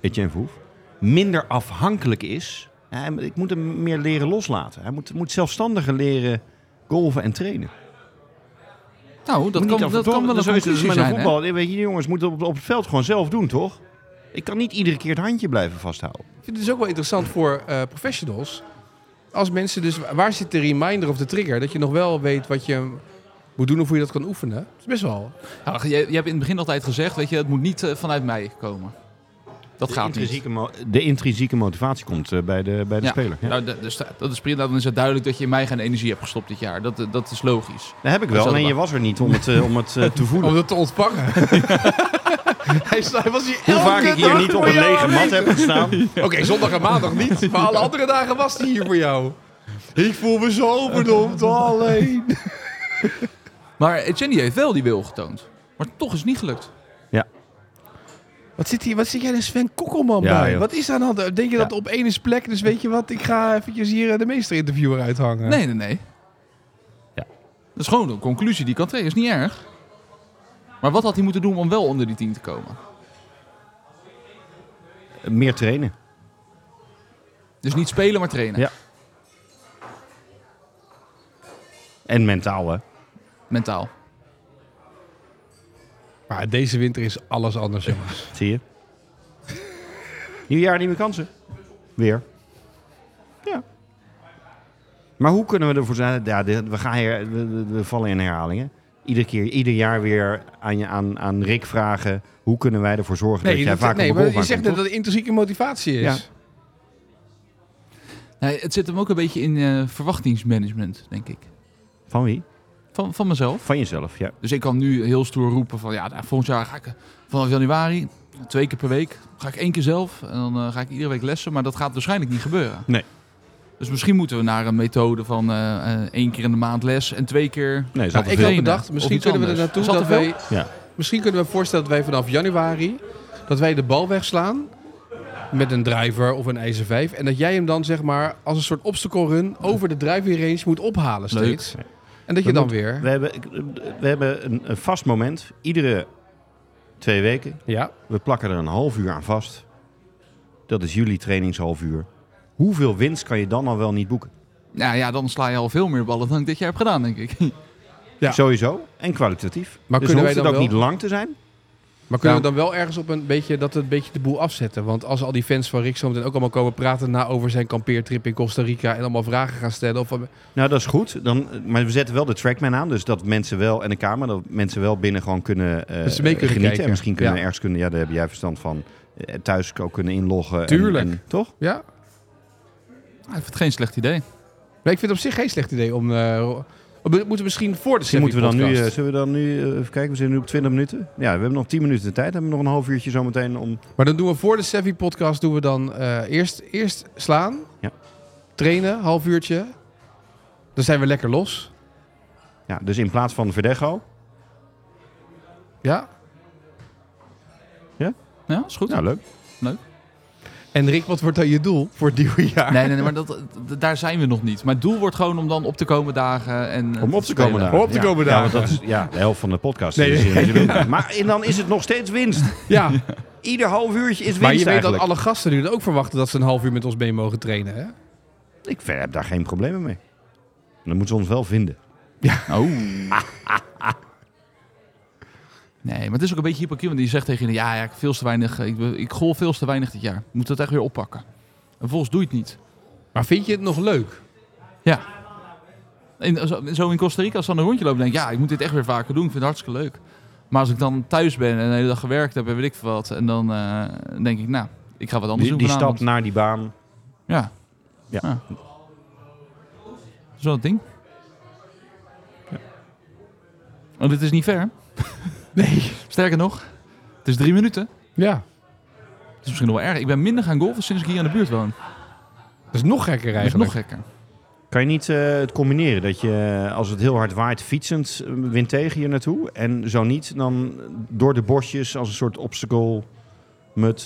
Speaker 3: Etienne Verhoef, minder afhankelijk is. Hij- ik moet hem meer leren loslaten. Hij moet, moet zelfstandiger leren golven en trainen.
Speaker 2: Nou, dat
Speaker 3: Moet
Speaker 2: kan,
Speaker 3: niet af-
Speaker 2: dat
Speaker 3: toch?
Speaker 2: kan wel een
Speaker 3: Zo is het
Speaker 2: conclusie
Speaker 3: met een
Speaker 2: zijn. hè?
Speaker 3: voetbal. Weet je, die jongens moeten op, op het veld gewoon zelf doen, toch? Ik kan niet iedere keer het handje blijven vasthouden.
Speaker 1: Ik vind het dus ook wel interessant voor eh, professionals. Als mensen dus... Waar zit de reminder of de trigger? Dat je nog wel weet wat je moet doen of hoe je dat kan oefenen. Dat is best wel...
Speaker 2: Ja, je, je hebt in het begin altijd gezegd, weet je, het moet niet eh, vanuit mij komen. Dat
Speaker 3: de
Speaker 2: gaat niet.
Speaker 3: intrinsieke, mo- de intrinsieke motivatie komt eh, bij de, bij de
Speaker 2: Ja.
Speaker 3: speler. Ja.
Speaker 2: Nou, d- dus da- dat is prima. Dan is het duidelijk dat je in mij geen energie hebt gestopt dit jaar. Dat, eh, dat is logisch.
Speaker 3: Dat heb ik
Speaker 2: Dat
Speaker 3: wel,
Speaker 2: is
Speaker 3: alleen je was er niet om het, eh, om het eh, te voelen.
Speaker 1: Om dat te ontpakken. hij, sta- hij was hier
Speaker 3: Hoe
Speaker 1: elke
Speaker 3: vaak ik hier
Speaker 1: dag
Speaker 3: niet op
Speaker 1: voor
Speaker 3: een
Speaker 1: jou
Speaker 3: lege mat heb gestaan.
Speaker 1: Oké, zondag en maandag niet. Maar alle andere dagen was hij hier voor jou. Ik voel me zo verdomd alleen.
Speaker 2: Maar Etienne die heeft wel die wil getoond. Maar toch is het niet gelukt.
Speaker 1: Wat zit, hier, wat zit jij er Sven Kokkelman
Speaker 3: Ja,
Speaker 1: bij?
Speaker 3: joh.
Speaker 1: Wat is aan de hand? Denk je dat
Speaker 3: Ja.
Speaker 1: op één is plek? Dus weet je wat, ik ga eventjes hier eh, de meester-interviewer uithangen.
Speaker 2: Nee, nee, nee.
Speaker 3: Ja.
Speaker 2: Dat is gewoon een conclusie die kan trekken. Is niet erg. Maar wat had hij moeten doen om wel onder die 10 te komen?
Speaker 3: Meer trainen.
Speaker 2: Dus niet spelen, maar trainen.
Speaker 3: Ja. En mentaal, hè.
Speaker 2: Mentaal.
Speaker 1: Maar deze winter is alles anders, jongens.
Speaker 3: Zie je. Nieuw jaar, nieuwe kansen. Weer. Ja. Maar hoe kunnen we ervoor zijn... Ja, dit- we, gaan hier, we, we- we vallen in herhalingen. Iedere keer, ieder jaar weer aan, je, aan, aan Rick vragen... hoe kunnen wij ervoor zorgen dat jij
Speaker 1: dat-
Speaker 3: vaak
Speaker 1: nee
Speaker 3: op de
Speaker 1: maar je
Speaker 3: golfbaan
Speaker 1: zegt
Speaker 3: komt,
Speaker 1: net
Speaker 3: toch?
Speaker 1: dat het intrinsieke motivatie is.
Speaker 3: Ja.
Speaker 2: Nee, het zit hem ook een beetje in eh, verwachtingsmanagement, denk ik.
Speaker 3: Van wie?
Speaker 2: Van, van mezelf.
Speaker 3: Van jezelf, ja.
Speaker 2: Dus ik kan nu heel stoer roepen van ja, nou, volgend jaar ga ik eh, vanaf januari, twee keer per week, ga ik één keer zelf en dan eh, ga ik iedere week lessen. Maar dat gaat waarschijnlijk niet gebeuren.
Speaker 3: Nee.
Speaker 2: Dus misschien moeten we naar een methode van eh, eh, één keer in de maand les en twee keer.
Speaker 3: Nee, is
Speaker 1: Nou,
Speaker 3: altijd
Speaker 1: ik
Speaker 3: veel.
Speaker 1: had
Speaker 2: trainen
Speaker 1: bedacht,
Speaker 2: of
Speaker 1: misschien
Speaker 2: iets
Speaker 1: kunnen we er
Speaker 2: anders.
Speaker 1: naartoe
Speaker 2: Is dat
Speaker 1: dat
Speaker 2: te veel?
Speaker 1: wij...
Speaker 3: Ja.
Speaker 1: Misschien kunnen we voorstellen dat wij vanaf januari... dat wij de bal wegslaan met een driver of een ijzer 5... en dat jij hem dan zeg maar als een soort obstacle run... over de driving range moet ophalen
Speaker 2: Leuk.
Speaker 1: steeds. En dat je
Speaker 3: We
Speaker 1: dan
Speaker 3: moeten-
Speaker 1: weer...
Speaker 3: We hebben, ik- we hebben een, een vast moment. Iedere twee weken.
Speaker 1: Ja.
Speaker 3: We plakken er een half uur aan vast. Dat is jullie trainingshalf uur. Hoeveel winst kan je dan al wel niet boeken?
Speaker 2: Nou ja, dan sla je al veel meer ballen dan ik dit jaar heb gedaan, denk ik.
Speaker 1: Ja.
Speaker 3: Sowieso. En kwalitatief.
Speaker 1: Maar
Speaker 3: dus
Speaker 1: kunnen
Speaker 3: hoeft
Speaker 1: wij
Speaker 3: het ook
Speaker 1: dan
Speaker 3: niet lang te zijn.
Speaker 1: Maar kunnen we dan wel ergens op een beetje... dat we een beetje de boel afzetten? Want als al die fans van Rick zometeen ook allemaal komen praten... na over zijn kampeertrip in Costa Rica... en allemaal vragen gaan stellen... Of,
Speaker 3: Nou, dat is goed. Dan, maar we zetten wel de trackman aan. Dus dat mensen wel en de camera, dat mensen wel binnen gewoon kunnen, eh,
Speaker 1: Dat ze mee kunnen
Speaker 3: genieten.
Speaker 1: kijken.
Speaker 3: En misschien kunnen
Speaker 1: Ja.
Speaker 3: ergens kunnen, ja, daar heb jij verstand van. eh, Thuis ook kunnen inloggen. en-
Speaker 1: Tuurlijk.
Speaker 3: en- toch?
Speaker 1: ja?
Speaker 2: Ah, ik vind het geen slecht idee.
Speaker 1: Maar ik vind het op zich geen slecht idee om... eh, We moeten we misschien voor de
Speaker 3: Misschien
Speaker 1: Seffi
Speaker 3: moeten we dan nu, eh,
Speaker 1: podcast.
Speaker 3: zullen we dan nu eh, even kijken, we zitten nu op 20 minuten. Ja, we hebben nog 10 minuten de tijd. Hebben we nog een half uurtje zometeen om...
Speaker 1: Maar dan doen we voor de Sevi podcast doen we dan eh, eerst, eerst slaan,
Speaker 3: Ja.
Speaker 1: trainen, half uurtje. Dan zijn we lekker los.
Speaker 3: Ja, dus in plaats van Verdego.
Speaker 1: Ja.
Speaker 2: Ja, is goed.
Speaker 3: Nou, leuk.
Speaker 1: En Rick, wat wordt dan je doel voor het nieuwe jaar?
Speaker 2: Nee, nee, nee, maar dat, dat- daar zijn we nog niet. Maar het doel wordt gewoon om dan op te komen dagen en eh,
Speaker 3: Om op te komen
Speaker 2: spelen.
Speaker 3: dagen.
Speaker 1: Om op te
Speaker 3: Ja.
Speaker 1: komen
Speaker 3: Ja,
Speaker 1: dagen.
Speaker 3: want dat is ja, de helft van de podcast.
Speaker 1: Nee,
Speaker 3: is
Speaker 1: nee.
Speaker 3: natuurlijk. Maar en dan is het nog steeds winst.
Speaker 1: Ja,
Speaker 3: Ieder half uurtje is winst
Speaker 1: maar je weet dat
Speaker 3: eigenlijk.
Speaker 1: alle gasten nu dan ook verwachten dat ze een half uur met ons mee mogen trainen. Hè?
Speaker 3: Ik ver- heb daar geen problemen mee. Dan moeten ze ons wel vinden.
Speaker 2: Oh. Nee, maar het is ook een beetje hypocriet, want die zegt tegen je, ja, ja ik, veel te weinig, eh, ik, ik goal veel te weinig dit jaar. Ik Moet dat echt weer oppakken. En volgens doe je het niet.
Speaker 1: Maar vind je het nog leuk?
Speaker 2: Ja. In, zo- zo in Costa Rica, als dan een rondje loopt, denk ik, ja, ik moet dit echt weer vaker doen. Ik vind het hartstikke leuk. Maar als ik dan thuis ben en de hele dag gewerkt heb en weet ik veel wat, en dan eh, denk ik, nou, ik ga wat anders
Speaker 3: Die,
Speaker 2: doen
Speaker 3: die
Speaker 2: vanavond.
Speaker 3: stap naar die baan.
Speaker 2: Ja.
Speaker 3: Ja.
Speaker 2: Dat is wel het ding. Oh, dit is niet ver. Nee. Sterker nog, het is drie minuten.
Speaker 1: Ja.
Speaker 2: Het is misschien nog wel erg. Ik ben minder gaan golven sinds ik hier aan de buurt woon.
Speaker 1: Dat is nog gekker
Speaker 2: Dat is nog
Speaker 1: eigenlijk.
Speaker 2: gekker.
Speaker 3: Kan je niet eh, het combineren? Dat je eh, als het heel hard waait, fietsend eh, wind tegen hier naartoe. En zo niet, dan door de bosjes als een soort obstacle mut.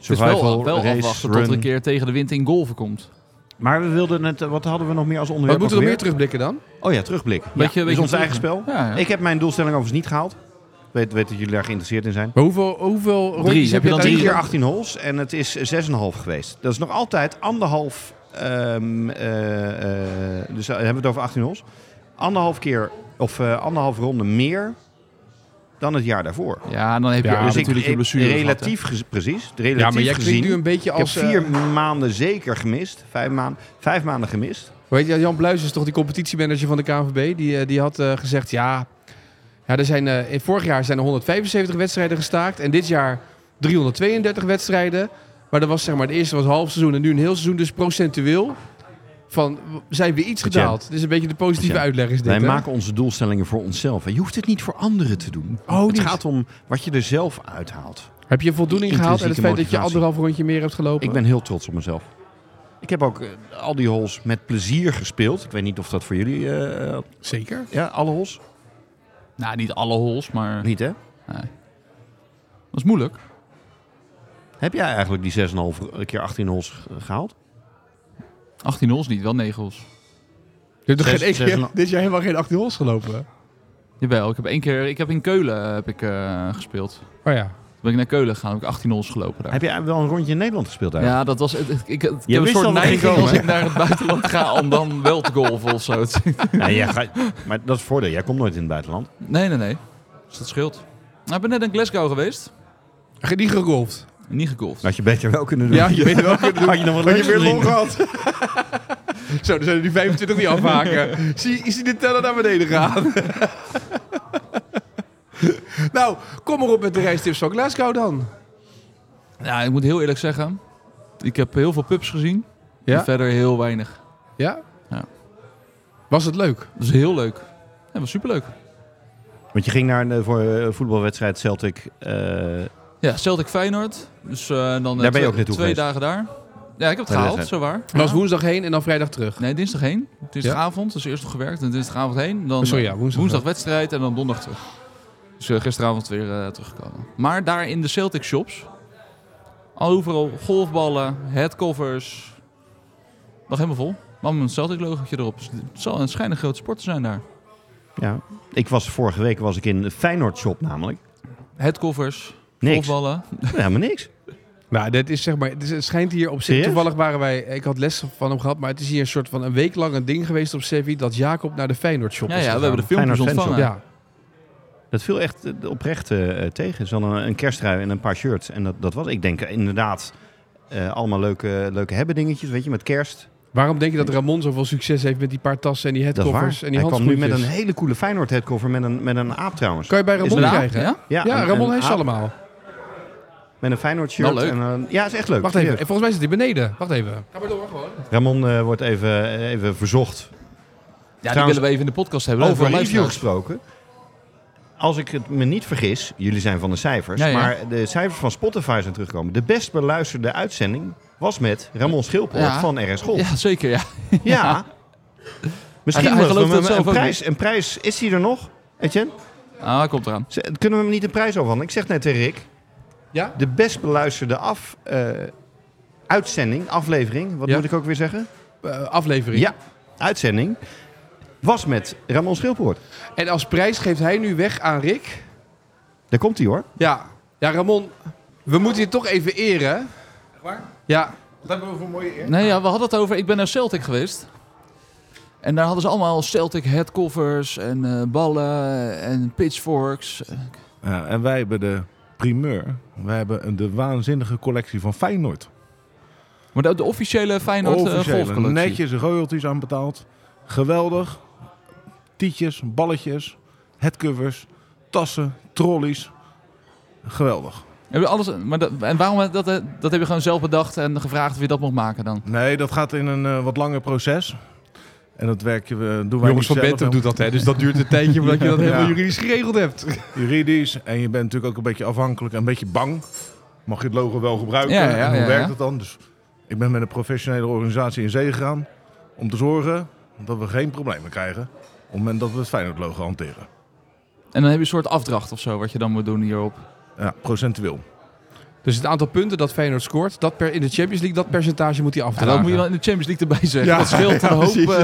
Speaker 2: Het is wel,
Speaker 3: Survival
Speaker 2: wel
Speaker 3: race
Speaker 2: afwachten tot er een
Speaker 3: run.
Speaker 2: keer tegen de wind in golven komt.
Speaker 3: Maar we wilden net, eh, wat hadden we nog meer als onderwerp?
Speaker 1: Maar moeten we nog meer
Speaker 3: alweer?
Speaker 1: terugblikken dan?
Speaker 3: Oh ja, terugblik. Ja,
Speaker 2: Beetje-
Speaker 3: dus
Speaker 2: beetje
Speaker 3: ons eigen
Speaker 2: terug.
Speaker 3: spel.
Speaker 2: Ja, ja.
Speaker 3: Ik heb mijn doelstelling overigens niet gehaald. Ik weet, weet dat jullie daar geïnteresseerd in zijn.
Speaker 1: Maar hoeveel, hoeveel rondjes
Speaker 2: Drie.
Speaker 1: heb
Speaker 2: Heb
Speaker 1: je
Speaker 2: je dan
Speaker 1: uiteindelijk-
Speaker 3: Drie
Speaker 2: drie?
Speaker 3: keer 18 holes en het is 6,5 geweest. Dat is nog altijd anderhalf. ehm, eh, eh, dus eh, hebben we het over 18 holes. Anderhalf keer of eh, anderhalf ronde meer dan het jaar daarvoor.
Speaker 2: Ja, en dan heb je
Speaker 1: Ja,
Speaker 2: ook
Speaker 3: dus ik-
Speaker 2: natuurlijk
Speaker 3: ik-
Speaker 2: je blessure gehad,
Speaker 3: relatief gez- precies. Relatief
Speaker 1: Ja, maar jij
Speaker 3: gezien.
Speaker 1: klinkt nu een beetje
Speaker 3: ik heb
Speaker 1: als... eh,
Speaker 3: vier maanden zeker gemist. Vijf, maanden, vijf maanden gemist.
Speaker 1: Weet je, Jan Bluis is toch die competitiemanager van de KNVB? Die, eh, die had eh, gezegd, ja, ja er zijn, eh, in vorig jaar zijn er 175 wedstrijden gestaakt. En dit jaar 332 wedstrijden. Maar dat was zeg maar, het eerste was een half seizoen en nu een heel seizoen. Dus procentueel van, w- zijn we iets
Speaker 3: Procent.
Speaker 1: gedaald. Dit is een beetje de positieve
Speaker 3: Procent.
Speaker 1: uitleg is dit.
Speaker 3: Wij
Speaker 1: hè?
Speaker 3: maken onze doelstellingen voor onszelf. En Je hoeft het niet voor anderen te doen.
Speaker 1: Oh,
Speaker 3: het
Speaker 1: niet.
Speaker 3: gaat om wat je er zelf uithaalt.
Speaker 1: Heb je voldoening gehaald en het
Speaker 3: Intrinsieke
Speaker 1: feit dat je
Speaker 3: motivatie.
Speaker 1: anderhalf rondje meer hebt gelopen?
Speaker 3: Ik ben heel trots op mezelf. Ik heb ook eh, al die holes met plezier gespeeld. Ik weet niet of dat voor jullie... eh, eh,
Speaker 1: Zeker.
Speaker 3: ja, alle holes?
Speaker 2: hè? Nou, niet alle holes, maar
Speaker 3: Niet, hè?
Speaker 2: nee. dat is moeilijk.
Speaker 3: Heb jij eigenlijk die 6,5 keer 18 holes ge- gehaald?
Speaker 2: 18 holes niet, wel 9 holes.
Speaker 1: Je hebt nog
Speaker 3: Zes-
Speaker 1: geen één
Speaker 3: zes
Speaker 1: keer-
Speaker 3: en een-
Speaker 1: dit jaar helemaal geen 18 holes gelopen.
Speaker 2: Jawel, ik heb één keer, ik heb in Keulen eh, heb ik, eh, gespeeld.
Speaker 1: Oh ja.
Speaker 2: Toen ben ik naar Keulen gegaan, heb ik 18 holes gelopen daar.
Speaker 3: Heb jij wel een rondje in Nederland gespeeld eigenlijk?
Speaker 2: Ja, dat was. het- het- ik, het- ik
Speaker 3: Je
Speaker 2: heb een
Speaker 3: wist
Speaker 2: soort
Speaker 3: al dat het
Speaker 2: neiging
Speaker 3: ging
Speaker 2: als
Speaker 3: komen,
Speaker 2: ik naar het buitenland ga om dan wel te golven of zo. Het-
Speaker 3: Nou, jij gaat- maar dat is het voordeel. Jij komt nooit in het buitenland.
Speaker 2: Nee, nee, nee. Dus dat scheelt. Nou, ik ben net in Glasgow geweest.
Speaker 1: Ge- Niet gegolfd.
Speaker 2: Niet gegolfd.
Speaker 3: Dat had je beter wel kunnen doen.
Speaker 1: Ja, je weet wel.
Speaker 3: Had je nog wel
Speaker 1: Had je
Speaker 3: leuk
Speaker 1: weer lol gehad? Zo, dan zijn er die 25 die afhaken. Zie, is die de teller naar beneden gaan? nou, kom maar op met de reistips van Glasgow dan.
Speaker 2: Ja, ik moet heel eerlijk zeggen. Ik heb heel veel pubs gezien.
Speaker 1: Ja?
Speaker 2: En verder heel weinig.
Speaker 1: Ja?
Speaker 2: Ja.
Speaker 1: Was het leuk?
Speaker 2: Dat is heel leuk. Ja, dat was superleuk.
Speaker 3: Want je ging naar een eh, voor, eh, voetbalwedstrijd Celtic. eh,
Speaker 2: Ja, Celtic Feyenoord. Dus eh, dan eh,
Speaker 3: Daar ben je ook
Speaker 2: twee,
Speaker 3: naartoe
Speaker 2: twee
Speaker 3: geweest.
Speaker 2: dagen daar. Ja, ik heb het
Speaker 3: Ja,
Speaker 2: gehaald,
Speaker 3: dat is
Speaker 2: zo waar.
Speaker 1: Was woensdag heen en dan vrijdag terug.
Speaker 2: Nee, dinsdag heen. Dinsdagavond, dus eerst nog gewerkt en dinsdagavond heen. Dan eh,
Speaker 1: Oh, sorry, ja, woensdag.
Speaker 2: wedstrijd en dan donderdag terug. Dus eh, gisteravond weer eh, teruggekomen. Maar daar in de Celtic shops, al overal golfballen, headcovers, nog helemaal vol. Maar met een Celtic logootje erop. Dus het zal een schijnig grote sport te zijn daar.
Speaker 3: ja. Ik was vorige week was ik in de Feyenoord shop namelijk.
Speaker 2: Headcovers,
Speaker 3: Niks.
Speaker 2: golfballen.
Speaker 3: Helemaal niks.
Speaker 1: Nou, dit is zeg maar, het, is- het schijnt hier op zich.
Speaker 3: Serieus?
Speaker 1: Toevallig waren wij, ik had les van hem gehad, maar het is hier een soort van een week lang een ding geweest op Sevi dat Jacob naar de Feyenoord shop
Speaker 2: Ja,
Speaker 1: is
Speaker 2: ja, we
Speaker 1: gegaan.
Speaker 2: hebben de filmpjes
Speaker 3: Feyenoord fanshop.
Speaker 2: ontvangen.
Speaker 1: Ja,
Speaker 3: Dat viel echt eh, oprecht eh, eh, tegen. Ze hadden een, een kerstrui en een paar shirts. En dat, dat was, ik denk eh, inderdaad, eh, allemaal leuke, leuke hebben dingetjes, weet je, met kerst.
Speaker 1: Waarom denk je dat Ramon zoveel succes heeft met die paar tassen en die
Speaker 3: Dat is waar.
Speaker 1: headcovers en die
Speaker 3: Hij kwam nu met
Speaker 1: handschoentjes?
Speaker 3: een hele coole Feyenoord headcover met een, met een aap trouwens.
Speaker 1: Kan je bij
Speaker 3: Is
Speaker 1: Ramon
Speaker 3: het een aap?
Speaker 1: krijgen? hè?
Speaker 2: Ja?
Speaker 1: Ja, Ramon heeft ze
Speaker 3: aap
Speaker 1: allemaal.
Speaker 3: Met een Feyenoord shirt.
Speaker 2: Wel leuk.
Speaker 3: En, een- ja, is echt leuk.
Speaker 1: Wacht even,
Speaker 3: Serieus.
Speaker 1: volgens mij zit hij beneden. Wacht even. Ga maar door, gewoon.
Speaker 3: Ramon eh, wordt even, even eh, verzocht
Speaker 2: Ja, die
Speaker 3: Trouwens,
Speaker 2: willen we even in de podcast hebben.
Speaker 3: Over
Speaker 2: Even
Speaker 3: review
Speaker 2: luisteraars.
Speaker 3: gesproken. Als ik het me niet vergis, jullie zijn van de cijfers,
Speaker 2: Ja, ja.
Speaker 3: maar de cijfers van Spotify zijn teruggekomen. De best beluisterde uitzending was met Ramon Schilpoort
Speaker 2: Ja.
Speaker 3: van RS Gold. Ja.
Speaker 2: Ja, zeker. Ja.
Speaker 3: Misschien
Speaker 2: Hij- hij
Speaker 3: moeten we
Speaker 2: gelooft
Speaker 3: hem
Speaker 2: dat
Speaker 3: een
Speaker 2: zelf ook
Speaker 3: prijs, een prijs. Is hij er nog? Etienne?
Speaker 2: Ah, komt eraan.
Speaker 3: Z- Kunnen we hem niet een prijs overhandelen? Ik zeg net tegen Rick,
Speaker 1: Ja?
Speaker 3: de best beluisterde af, eh, uitzending, aflevering, wat
Speaker 1: Ja.
Speaker 3: moet ik ook weer zeggen?
Speaker 1: Eh, aflevering.
Speaker 3: Ja, uitzending, was met Ramon Schilpoort.
Speaker 1: En als prijs geeft hij nu weg aan Rick.
Speaker 3: Daar komt hij hoor.
Speaker 1: Ja, ja Ramon, we moeten je toch even eren.
Speaker 4: Echt waar?
Speaker 1: Ja,
Speaker 4: Wat hebben we voor een mooie eer?
Speaker 2: Nee, ja, we hadden het over. Ik ben naar Celtic geweest. En daar hadden ze allemaal Celtic headcovers en eh, ballen en pitchforks.
Speaker 4: Ja, en wij hebben de primeur. Wij hebben een, de waanzinnige collectie van Feyenoord.
Speaker 2: Maar de, de officiële Feyenoord eh,
Speaker 4: Officiële,
Speaker 2: golfcollectie.
Speaker 4: netjes royalties aan betaald. Geweldig. Tietjes, balletjes, headcovers, tassen, trolleys. Geweldig.
Speaker 2: Heb je alles, maar dat, en waarom heb- dat, eh, dat heb je gewoon zelf bedacht en gevraagd of je dat mocht maken dan?
Speaker 4: Nee, dat gaat in een eh, wat langer proces. En dat werken we, doen wij
Speaker 1: Jongens
Speaker 4: niet
Speaker 1: van
Speaker 4: zelf,
Speaker 1: Bentham
Speaker 4: hè.
Speaker 1: doet dat, hè? Dus dat duurt een tijdje voordat je dat
Speaker 4: Ja.
Speaker 1: helemaal
Speaker 4: Ja.
Speaker 1: juridisch geregeld hebt.
Speaker 4: juridisch. En je bent natuurlijk ook een beetje afhankelijk en een beetje bang. Mag je het logo wel gebruiken?
Speaker 2: Ja, ja,
Speaker 4: en hoe
Speaker 2: ja,
Speaker 4: werkt
Speaker 2: ja.
Speaker 4: het dan? Dus ik ben met een professionele organisatie in zee gegaan om te zorgen dat we geen problemen krijgen op het moment dat we het Feyenoord logo hanteren.
Speaker 2: En dan heb je een soort afdracht of zo wat je dan moet doen hierop.
Speaker 4: Ja, procentueel.
Speaker 1: Dus het aantal punten dat Feyenoord scoort, dat per, in de Champions League, dat percentage moet hij
Speaker 2: En
Speaker 1: afdragen.
Speaker 2: dat moet je wel in de Champions League erbij zeggen.
Speaker 1: Ja,
Speaker 2: dat scheelt een
Speaker 4: ja,
Speaker 2: hoop.
Speaker 4: precies.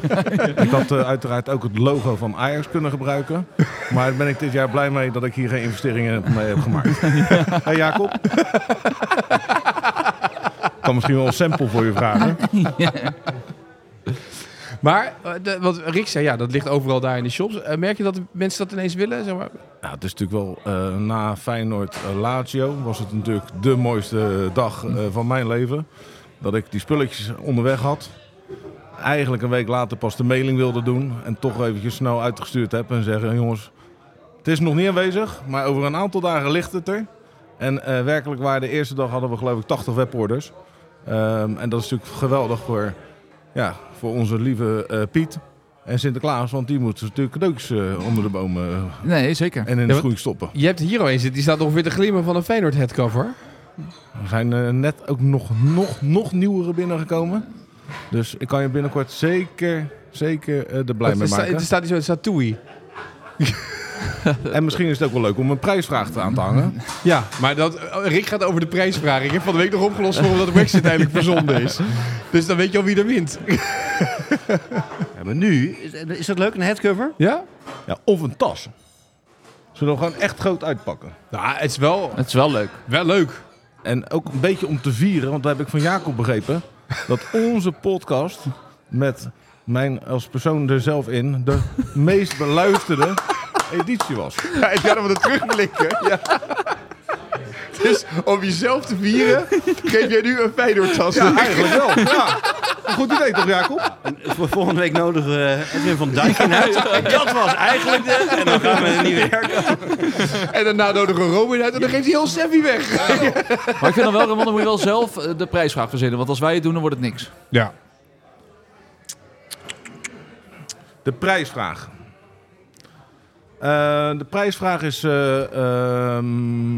Speaker 2: eh, ja.
Speaker 4: Ik had eh, uiteraard ook het logo van Ajax kunnen gebruiken. Maar daar ben ik dit jaar blij mee dat ik hier geen investeringen mee heb gemaakt. Hé Jacob? Ik kan misschien wel een sample voor je vragen.
Speaker 1: Maar eh, de- wat Rick zei, ja, dat ligt overal daar in de shops. Eh, merk je dat de mensen dat ineens willen? Zeg maar?
Speaker 4: Ja, het is natuurlijk wel eh, na Feyenoord eh, Lazio was het natuurlijk de mooiste dag eh, van mijn leven. Dat ik die spulletjes onderweg had. Eigenlijk een week later pas de mailing wilde doen. En toch eventjes snel uitgestuurd heb en zeggen: jongens, het is nog niet aanwezig, maar over een aantal dagen ligt het er. En eh, werkelijk waar, de eerste dag hadden we geloof ik 80 weborders. Ehm, en dat is natuurlijk geweldig voor, ja, voor onze lieve eh, Piet en Sinterklaas. Want die moeten natuurlijk cadeautjes eh, onder de bomen eh,
Speaker 2: Nee, zeker.
Speaker 4: en in
Speaker 1: Ja,
Speaker 4: de
Speaker 1: wat-
Speaker 4: schoen stoppen.
Speaker 1: Je hebt hier al een zitten, die staat ongeveer te glimmen van een Feyenoord headcover.
Speaker 4: Er zijn eh, net ook nog, nog, nog nieuwere binnengekomen. Dus ik kan je binnenkort zeker, zeker eh, er blij
Speaker 1: Er
Speaker 4: mee
Speaker 1: sta-
Speaker 4: maken.
Speaker 1: er staat iets zo, er staat Toei.
Speaker 4: En misschien is het ook wel leuk om een prijsvraag te aan te hangen.
Speaker 1: Ja, maar dat, eh, Rick gaat over de prijsvraag. Ik heb van de week nog opgelost voor omdat de Brexit eindelijk verzonden is. Dus dan weet je al wie er wint.
Speaker 3: Ja, maar nu, is, eh, is dat leuk, een headcover?
Speaker 1: Ja?
Speaker 4: Ja, of een tas. Zullen we gewoon echt groot uitpakken.
Speaker 1: Nou, het is wel,
Speaker 2: Het is wel leuk.
Speaker 1: wel leuk.
Speaker 4: En ook een beetje om te vieren, want dat heb ik van Jacob begrepen. Dat onze podcast met mijn als persoon er zelf in de meest beluisterde editie was.
Speaker 1: Ja, ik ga hem wat terugblikken. Ja. Dus om jezelf te vieren, geef jij nu een Feyenoord-tas.
Speaker 4: Ja, eigenlijk wel. Ja. Goed idee toch, Jacob?
Speaker 3: Voor volgende week nodigen we eh, Edwin van Dijk in uit. Dat was eigenlijk de... En dan gaan we niet werken.
Speaker 1: En daarna nodigen we Robin uit en dan geeft hij heel Steffi weg.
Speaker 2: Maar ik vind dan wel, Ramon, dan moet je wel zelf eh, de prijsvraag verzinnen. Want als wij het doen, dan wordt het niks.
Speaker 1: Ja.
Speaker 4: De prijsvraag. Eh, de prijsvraag is. eh, ehm,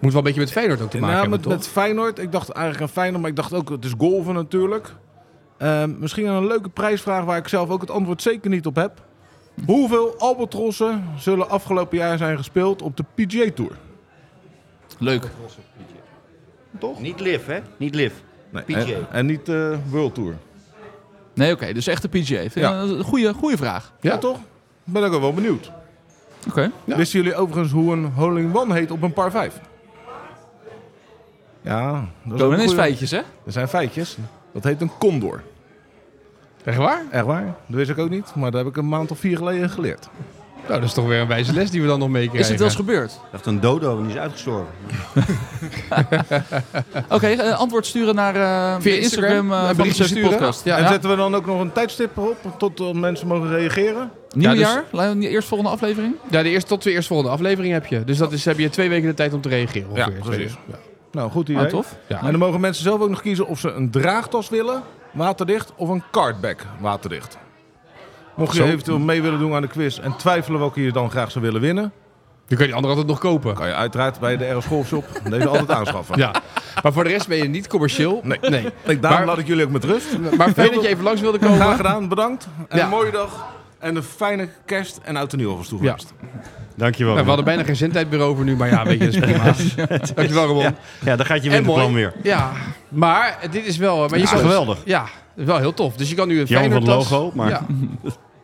Speaker 1: Moet wel een beetje met Feyenoord ook te maken
Speaker 4: nou,
Speaker 1: hebben,
Speaker 4: met,
Speaker 1: toch?
Speaker 4: met Feyenoord. Ik dacht eigenlijk aan Feyenoord, maar ik dacht ook, het is golven natuurlijk. Ehm, misschien een leuke prijsvraag waar ik zelf ook het antwoord zeker niet op heb. Hoeveel albatrossen zullen afgelopen jaar zijn gespeeld op de PGA Tour?
Speaker 2: Leuk.
Speaker 3: Niet live, hè? Niet live.
Speaker 4: Nee,
Speaker 3: PGA.
Speaker 4: En, en niet eh, World Tour.
Speaker 2: Nee, oké. dus echt de PGA. Vind ik
Speaker 4: Ja.
Speaker 2: een goede, goede vraag.
Speaker 4: Ja, toch? Ben ik ook wel benieuwd.
Speaker 2: Oké.
Speaker 1: Ja.
Speaker 4: Wisten jullie overigens hoe een hole-in-one heet op een par 5? Ja, dat
Speaker 2: Komen
Speaker 4: een
Speaker 2: is
Speaker 4: goeie.
Speaker 2: feitjes, hè?
Speaker 4: Er zijn feitjes. Dat heet een condor.
Speaker 1: Echt waar?
Speaker 4: Echt waar? Dat wist ik ook niet, maar dat heb ik een maand of vier geleden geleerd.
Speaker 1: Nou, dat is toch weer een wijze les die we dan nog meekrijgen.
Speaker 2: Is het wel eens gebeurd?
Speaker 3: Ik dacht een dodo en die is uitgestorven.
Speaker 2: Oké, eh, antwoord sturen naar
Speaker 1: Via
Speaker 2: eh, de Instagram,
Speaker 1: Instagram,
Speaker 2: eh,
Speaker 1: een
Speaker 2: van de
Speaker 1: berichtje
Speaker 2: Sessie
Speaker 1: sturen.
Speaker 2: Podcast.
Speaker 1: Ja,
Speaker 4: en
Speaker 1: ja.
Speaker 4: zetten we dan ook nog een tijdstip op tot eh, mensen mogen reageren?
Speaker 2: Nieuwjaar? Ja, dus- Eerst volgende aflevering?
Speaker 1: Ja, de eerste, tot de eerstvolgende aflevering heb je. Dus dat is, heb je twee weken de tijd om te reageren. ongeveer.
Speaker 4: precies. Nou, goed
Speaker 2: Ah,
Speaker 4: idee.
Speaker 2: tof.
Speaker 1: Ja.
Speaker 4: En dan mogen mensen zelf ook nog kiezen of ze een draagtas willen, waterdicht, of een cardback, waterdicht. Mocht je
Speaker 1: Zo.
Speaker 4: eventueel mee willen doen aan de quiz en twijfelen welke je dan graag zou willen winnen,
Speaker 1: Dan kun je die andere altijd nog kopen.
Speaker 4: kan je uiteraard bij de RS Golfshop deze altijd aanschaffen.
Speaker 1: Ja. Maar voor de rest ben je niet commercieel.
Speaker 4: Nee.
Speaker 1: nee.
Speaker 4: Ik, daarom
Speaker 1: Maar-
Speaker 4: laat ik jullie ook met rust.
Speaker 1: Maar fijn dat je even langs wilde
Speaker 4: Graag
Speaker 1: komen.
Speaker 4: gedaan, bedankt. En
Speaker 1: Ja.
Speaker 4: een mooie dag. En een fijne kerst en oud en nieuw alvast toegewenst.
Speaker 3: Dankjewel.
Speaker 1: Nou, we hadden bijna geen zendtijdbureau over nu, maar ja, weet je, dat is prima. Dankjewel, Ramon.
Speaker 3: ja, ja, dan gaat je
Speaker 1: En
Speaker 3: winterplan
Speaker 1: mooi.
Speaker 3: weer.
Speaker 1: Ja, maar dit is wel... Maar je
Speaker 3: Ja,
Speaker 1: kan-
Speaker 3: geweldig.
Speaker 1: Ja, wel heel tof. Dus je kan nu een
Speaker 3: Jammer van het
Speaker 1: Feyenoord-tas-
Speaker 3: logo, maar-
Speaker 1: Ja,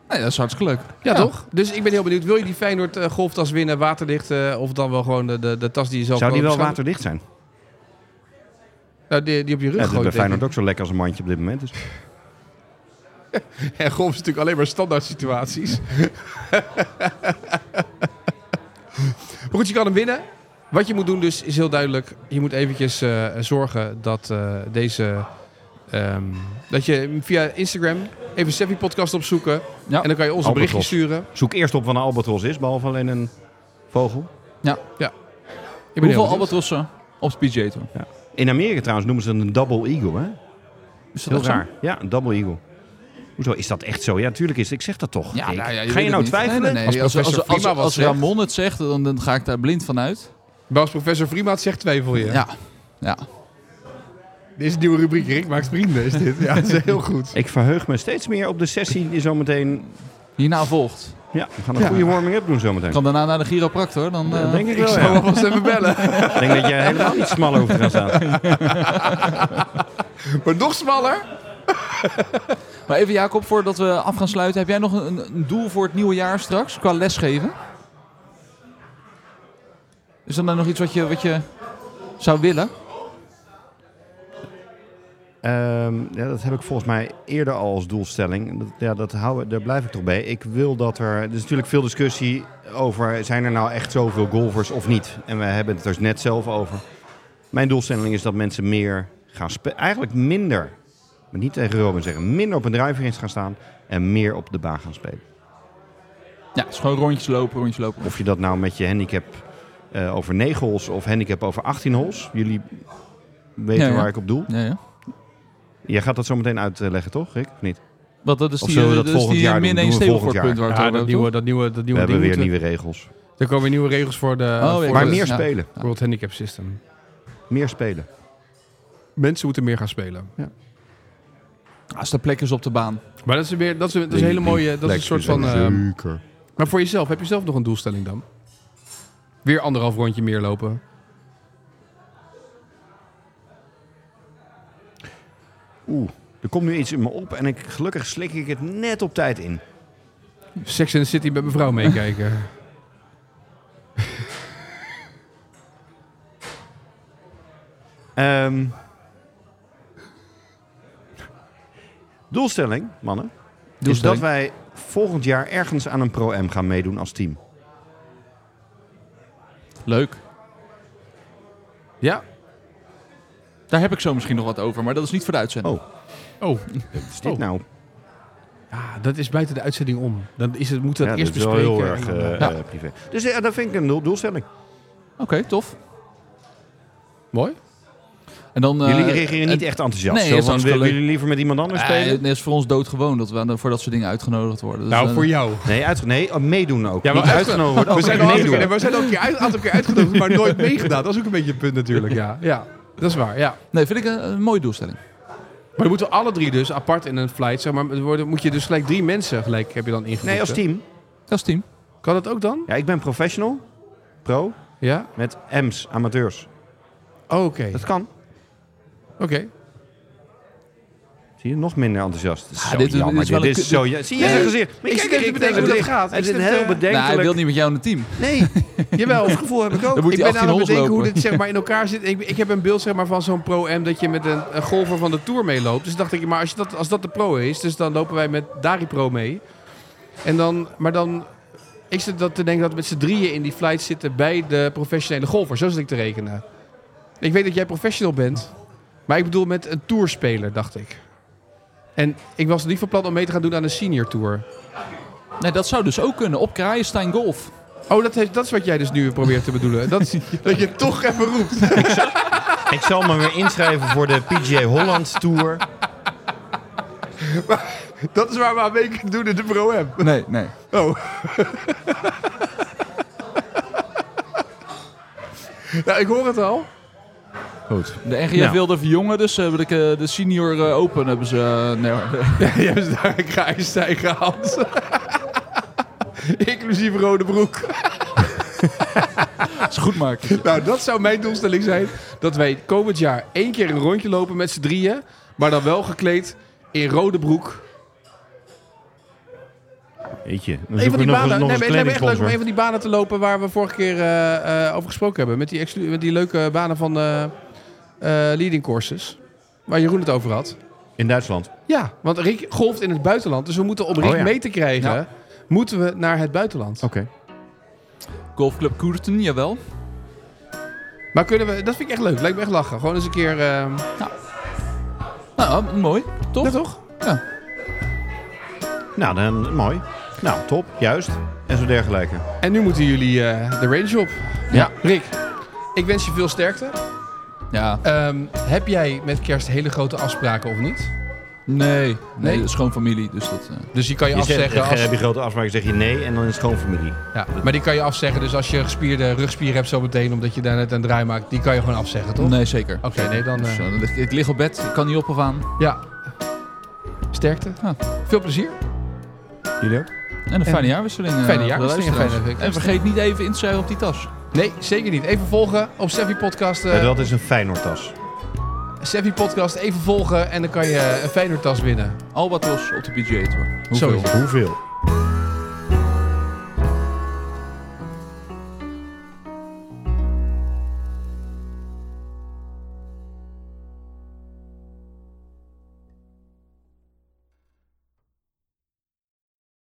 Speaker 2: Nee, dat is hartstikke leuk.
Speaker 1: ja, toch? Dus ik ben heel benieuwd. Wil je die Feyenoord eh, golftas winnen, waterdicht... eh, of dan wel gewoon de, de, de tas die je zelf...
Speaker 3: Zou die
Speaker 1: kan
Speaker 3: wel
Speaker 1: opslaan?
Speaker 3: waterdicht zijn?
Speaker 1: Nou, die, die op je rug
Speaker 3: Ja, dat is bij
Speaker 1: gooit, denk
Speaker 3: Feyenoord ook zo lekker als een mandje op dit moment. Dus.
Speaker 1: ik. En golf is natuurlijk alleen maar standaard situaties. maar goed, je kan hem winnen. Wat je moet doen dus, is heel duidelijk. Je moet eventjes eh, zorgen dat eh, deze... ehm, dat je via Instagram even Steffi Podcast opzoeken.
Speaker 2: Ja.
Speaker 1: En dan kan je ons een
Speaker 3: Albatros.
Speaker 1: berichtje sturen.
Speaker 3: Zoek eerst op wat een albatros is, behalve alleen een vogel.
Speaker 1: Ik ben heel
Speaker 2: Hoeveel
Speaker 1: benieuwd.
Speaker 2: albatrossen op de PGA Tour?
Speaker 3: In Amerika trouwens noemen ze het een double eagle, hè?
Speaker 2: Is dat
Speaker 3: Heel
Speaker 2: echt zo?
Speaker 3: raar. Ja, een double eagle. Hoezo is dat echt zo? Ja, natuurlijk is het. Ik zeg dat toch.
Speaker 2: Ja,
Speaker 3: Dick?
Speaker 2: nou ja,
Speaker 3: Ga
Speaker 2: weet
Speaker 3: je
Speaker 2: het
Speaker 3: nou
Speaker 2: niet. Nee,
Speaker 3: twijfelen?
Speaker 2: nee,
Speaker 1: Als
Speaker 2: nee. Als, als,
Speaker 1: professor
Speaker 2: als, als,
Speaker 1: Prima was zegt-
Speaker 2: Ramon het zegt, dan, dan ga ik daar blind van uit.
Speaker 1: Maar als professor Vriema het zegt, twijfel je.
Speaker 2: Ja. ja.
Speaker 1: Dit is een nieuwe rubriek. Rick maakt vrienden, is dit. Ja, dat is heel goed.
Speaker 3: Ik verheug me steeds meer op de sessie die zometeen...
Speaker 2: Hierna volgt.
Speaker 3: Ja, we gaan een
Speaker 1: Ja.
Speaker 3: goede warming-up doen zometeen.
Speaker 2: Ik kan daarna naar de chiropractor. Dan, eh,
Speaker 3: Dat denk ik
Speaker 1: Ik
Speaker 3: wel,
Speaker 1: zal
Speaker 3: ja.
Speaker 1: hem vast even bellen.
Speaker 3: Ik denk dat jij helemaal niet smaller hoeft te gaan staan.
Speaker 1: Maar nog smaller.
Speaker 2: Maar even Jacob, voordat we af gaan sluiten. Heb jij nog een, een doel voor het nieuwe jaar straks qua lesgeven? Is er dan nog iets wat je, wat je zou willen?
Speaker 3: Ehm, ja, dat heb ik volgens mij eerder al als doelstelling. Dat, ja, dat hou, daar blijf ik toch bij. Ik wil dat er... Er is natuurlijk veel discussie over... zijn er nou echt zoveel golfers of niet? En we hebben het er net zelf over. Mijn doelstelling is dat mensen meer gaan spelen. Eigenlijk minder, maar niet tegen Robin zeggen... minder op een drijving gaan staan... en meer op de baan gaan spelen.
Speaker 2: Ja, het is gewoon rondjes lopen, rondjes lopen.
Speaker 3: Of je dat nou met je handicap eh, over 9 holes of handicap over 18 holes... jullie weten
Speaker 2: Ja, ja.
Speaker 3: waar ik op doel.
Speaker 2: Ja, ja.
Speaker 3: Jij gaat dat zo meteen uitleggen, toch, Rick? Of niet?
Speaker 2: Want dat is
Speaker 3: Of
Speaker 2: die, eh,
Speaker 3: zullen we dat
Speaker 2: dat is
Speaker 3: volgend jaar
Speaker 2: die
Speaker 3: doen?
Speaker 2: min 1
Speaker 3: Doen we volgend
Speaker 2: stableford punt waar het
Speaker 1: Ja,
Speaker 2: over
Speaker 1: dat
Speaker 2: hebt, toch?
Speaker 1: nieuwe, dat nieuwe, dat
Speaker 3: We
Speaker 1: nieuwe
Speaker 3: hebben
Speaker 1: ding
Speaker 3: weer
Speaker 1: moeten.
Speaker 3: nieuwe regels.
Speaker 1: Er komen weer nieuwe regels voor de
Speaker 2: ja,
Speaker 1: voor
Speaker 2: klopt.
Speaker 3: Maar
Speaker 1: het
Speaker 3: meer
Speaker 2: ja.
Speaker 3: spelen.
Speaker 1: World Handicap System.
Speaker 3: Meer spelen.
Speaker 1: Mensen moeten meer gaan spelen.
Speaker 2: Als er plek is op de baan.
Speaker 1: Maar dat is weer, dat is, een- dat is een hele mooie, dat is een soort van... ehm,
Speaker 3: Zeker.
Speaker 1: maar voor jezelf, heb je zelf nog een doelstelling dan? Weer anderhalf rondje meer lopen.
Speaker 3: Oeh, er komt nu iets in me op en ik, gelukkig slik ik het net op tijd in.
Speaker 1: Sex in the City met mevrouw meekijken.
Speaker 3: Ehm, doelstelling, mannen, is dat
Speaker 2: Doelstelling.
Speaker 3: wij volgend jaar ergens aan een Pro-M gaan meedoen als team.
Speaker 2: Leuk.
Speaker 1: Ja?
Speaker 2: Daar heb ik zo misschien nog wat over, maar dat is niet voor de uitzending.
Speaker 3: Oh.
Speaker 1: Oh,
Speaker 3: Wat is dit
Speaker 1: Oh.
Speaker 3: nou?
Speaker 1: ja, dat is buiten de uitzending om. Dan is het, moeten
Speaker 3: Ja,
Speaker 1: we dat eerst
Speaker 3: is wel
Speaker 1: bespreken. Eh,
Speaker 3: heel erg eh,
Speaker 1: Nou,
Speaker 2: Ja.
Speaker 3: eh, privé. Dus ja, dat vind ik een doel- doelstelling. Oh.
Speaker 2: Oké, tof.
Speaker 1: Mooi.
Speaker 2: En dan, eh,
Speaker 3: jullie reageren niet
Speaker 2: eh,
Speaker 3: echt enthousiast.
Speaker 2: nee,
Speaker 3: Zo
Speaker 2: het is
Speaker 3: van,
Speaker 2: hartstikke
Speaker 3: willen
Speaker 2: leuk.
Speaker 3: jullie liever met iemand anders
Speaker 2: eh,
Speaker 3: spelen?
Speaker 2: het is voor ons doodgewoon dat we aan de- voor dat soort dingen uitgenodigd worden. Dus,
Speaker 1: Nou,
Speaker 2: eh,
Speaker 1: voor jou.
Speaker 3: Nee, uit, nee, oh, meedoen ook.
Speaker 1: Ja,
Speaker 3: Niet
Speaker 1: maar
Speaker 3: uitgenodigd Oh, worden.
Speaker 1: We
Speaker 3: ook
Speaker 1: zijn al een aantal
Speaker 3: meedoen.
Speaker 1: keer- we zijn al een keer uit- aantal keer uitgenodigd, maar nooit meegedaan. Dat is ook een beetje het punt natuurlijk, ja. ja. Dat is waar, ja.
Speaker 2: Nee, vind ik een, een mooie doelstelling.
Speaker 1: Maar dan moeten we alle drie dus apart in een flight, zeg maar, het worden, moet je dus gelijk drie mensen gelijk heb je dan ingevoerd.
Speaker 3: Nee, als
Speaker 1: hè?
Speaker 3: team.
Speaker 2: Dat is team.
Speaker 1: Kan dat ook dan?
Speaker 3: Ja, ik ben professional, pro,
Speaker 1: Ja?
Speaker 3: met M's, amateurs.
Speaker 1: Oh, Oké,
Speaker 3: Dat kan.
Speaker 1: oké.
Speaker 3: Zie je, nog minder enthousiast.
Speaker 2: Ah,
Speaker 3: zo
Speaker 2: dit
Speaker 3: dit,
Speaker 2: is-
Speaker 3: jammer.
Speaker 2: dit is
Speaker 3: Dit
Speaker 2: wel
Speaker 3: is,
Speaker 2: een kut-
Speaker 3: zo ja- Zie je
Speaker 1: Nee,
Speaker 3: zijn gezicht? Maar
Speaker 1: ik
Speaker 3: kijk
Speaker 1: zit even te bedenken hoe dat gaat.
Speaker 3: Het
Speaker 1: Ik
Speaker 3: is een
Speaker 1: zit,
Speaker 3: heel
Speaker 1: eh,
Speaker 2: Nou, hij
Speaker 3: bedenkelijk...
Speaker 2: wil niet met jou in het team.
Speaker 3: Nee,
Speaker 1: Jawel,
Speaker 3: dat gevoel heb ik ook.
Speaker 2: Dan moet
Speaker 1: ik
Speaker 2: hij
Speaker 1: ben aan
Speaker 2: 18
Speaker 1: het
Speaker 2: holes
Speaker 1: bedenken
Speaker 2: lopen.
Speaker 1: hoe dit zeg maar, in elkaar zit. Ik, ik heb een beeld zeg maar, van zo'n pro-M dat je met een, een golfer van de Tour meeloopt. Dus dacht ik, maar als, je dat, als dat de pro is, dus dan lopen wij met Dari Pro mee. En dan, maar dan, ik zit dat te denken dat we met z'n drieën in die flight zitten bij de professionele golfer. Zo zit ik te rekenen. Ik weet dat jij professional bent, maar ik bedoel met een tourspeler, dacht ik. En ik was niet van plan om mee te gaan doen aan een senior tour.
Speaker 2: Nee, dat zou dus ook kunnen. Op Kraaienstein Golf.
Speaker 1: Oh, dat, heeft, dat is wat jij dus nu probeert te bedoelen. Dat, is- dat je toch even roept.
Speaker 3: Ik zal me weer inschrijven voor de PGA Holland Tour.
Speaker 1: Dat is waar we aan mee kunnen doen in de Pro M.
Speaker 2: Nee, nee.
Speaker 1: Oh. nou, ik hoor het al.
Speaker 4: Goed.
Speaker 2: De NGF
Speaker 3: Ja.
Speaker 2: wilde verjongen, dus ze hebben de, de senior eh, open hebben ze... eh, nee, hoor.
Speaker 1: Ja, je hebt daar een kruistijn gehaald. Inclusief rode broek.
Speaker 2: Dat is goed maken.
Speaker 1: Nou, dat zou mijn doelstelling zijn. Dat wij komend jaar één keer een rondje lopen met z'n drieën. Maar dan wel gekleed in rode broek.
Speaker 3: Eetje,
Speaker 1: Een van
Speaker 3: dan zoeken we
Speaker 1: die
Speaker 3: nog,
Speaker 1: banen.
Speaker 3: eens- nog
Speaker 1: nee, maar het lijkt
Speaker 3: eens
Speaker 1: me echt leuk om
Speaker 3: kledingsponsor.
Speaker 1: een van die banen te lopen waar we vorige keer eh, eh, over gesproken hebben. Met die, exclu- met die leuke banen van eh, eh, leading courses. Waar Jeroen het over had.
Speaker 3: In Duitsland.
Speaker 1: Ja, want Rick golft in het buitenland. Dus we moeten om Rick
Speaker 3: Oh ja. Oh.
Speaker 1: mee te krijgen,
Speaker 2: Ja.
Speaker 1: moeten we naar het buitenland.
Speaker 3: Oké.
Speaker 2: Golfclub Koerten, jawel.
Speaker 1: Maar kunnen we, dat vind ik echt leuk. Lijkt me echt lachen. Gewoon eens een keer. ehm,
Speaker 2: Nou, mooi. Toch?
Speaker 1: ja, toch?
Speaker 3: Nou, dan mooi. Nou, top. Juist. En zo dergelijke.
Speaker 1: En nu moeten jullie eh, de range op.
Speaker 2: Ja.
Speaker 1: Rick, ik wens je veel sterkte.
Speaker 2: Ja.
Speaker 1: Ehm, heb jij met kerst hele grote afspraken of niet?
Speaker 2: Nee.
Speaker 1: Nee?
Speaker 2: Nee, dat is gewoon familie, dus dat... eh,
Speaker 1: Dus die kan je,
Speaker 3: Je zegt,
Speaker 1: afzeggen. als-
Speaker 3: heb je grote afspraken, zeg je nee en dan is het gewoon familie.
Speaker 1: ja, maar die kan je afzeggen. Dus als je gespierde rugspier hebt zo meteen, omdat je daar net een draai maakt, die kan je gewoon afzeggen, toch?
Speaker 2: nee, zeker.
Speaker 1: Oké, nee, dan.
Speaker 2: Dus,
Speaker 1: eh,
Speaker 2: eh, dan lig- ik lig op bed, ik kan niet op of aan.
Speaker 1: ja. Sterkte.
Speaker 3: Ah.
Speaker 2: Ja.
Speaker 1: Veel plezier.
Speaker 3: Jullie ook?
Speaker 2: En een
Speaker 1: En-
Speaker 2: fijne jaarwisseling. eh,
Speaker 1: Fijne
Speaker 2: voor de
Speaker 1: jaarwisseling,
Speaker 2: luisteraars.
Speaker 1: fijne week.
Speaker 2: En vergeet niet even in te schrijven op die tas.
Speaker 1: Nee, zeker niet. Even volgen op Steffi Podcast. eh,
Speaker 3: Ja, dat is een Feyenoord-tas.
Speaker 1: Seffi Podcast even volgen en dan kan je een Feyenoordtas winnen.
Speaker 2: Albatros op de PGA Tour.
Speaker 1: Zo is
Speaker 2: Hoeveel?
Speaker 1: het.
Speaker 3: Hoeveel?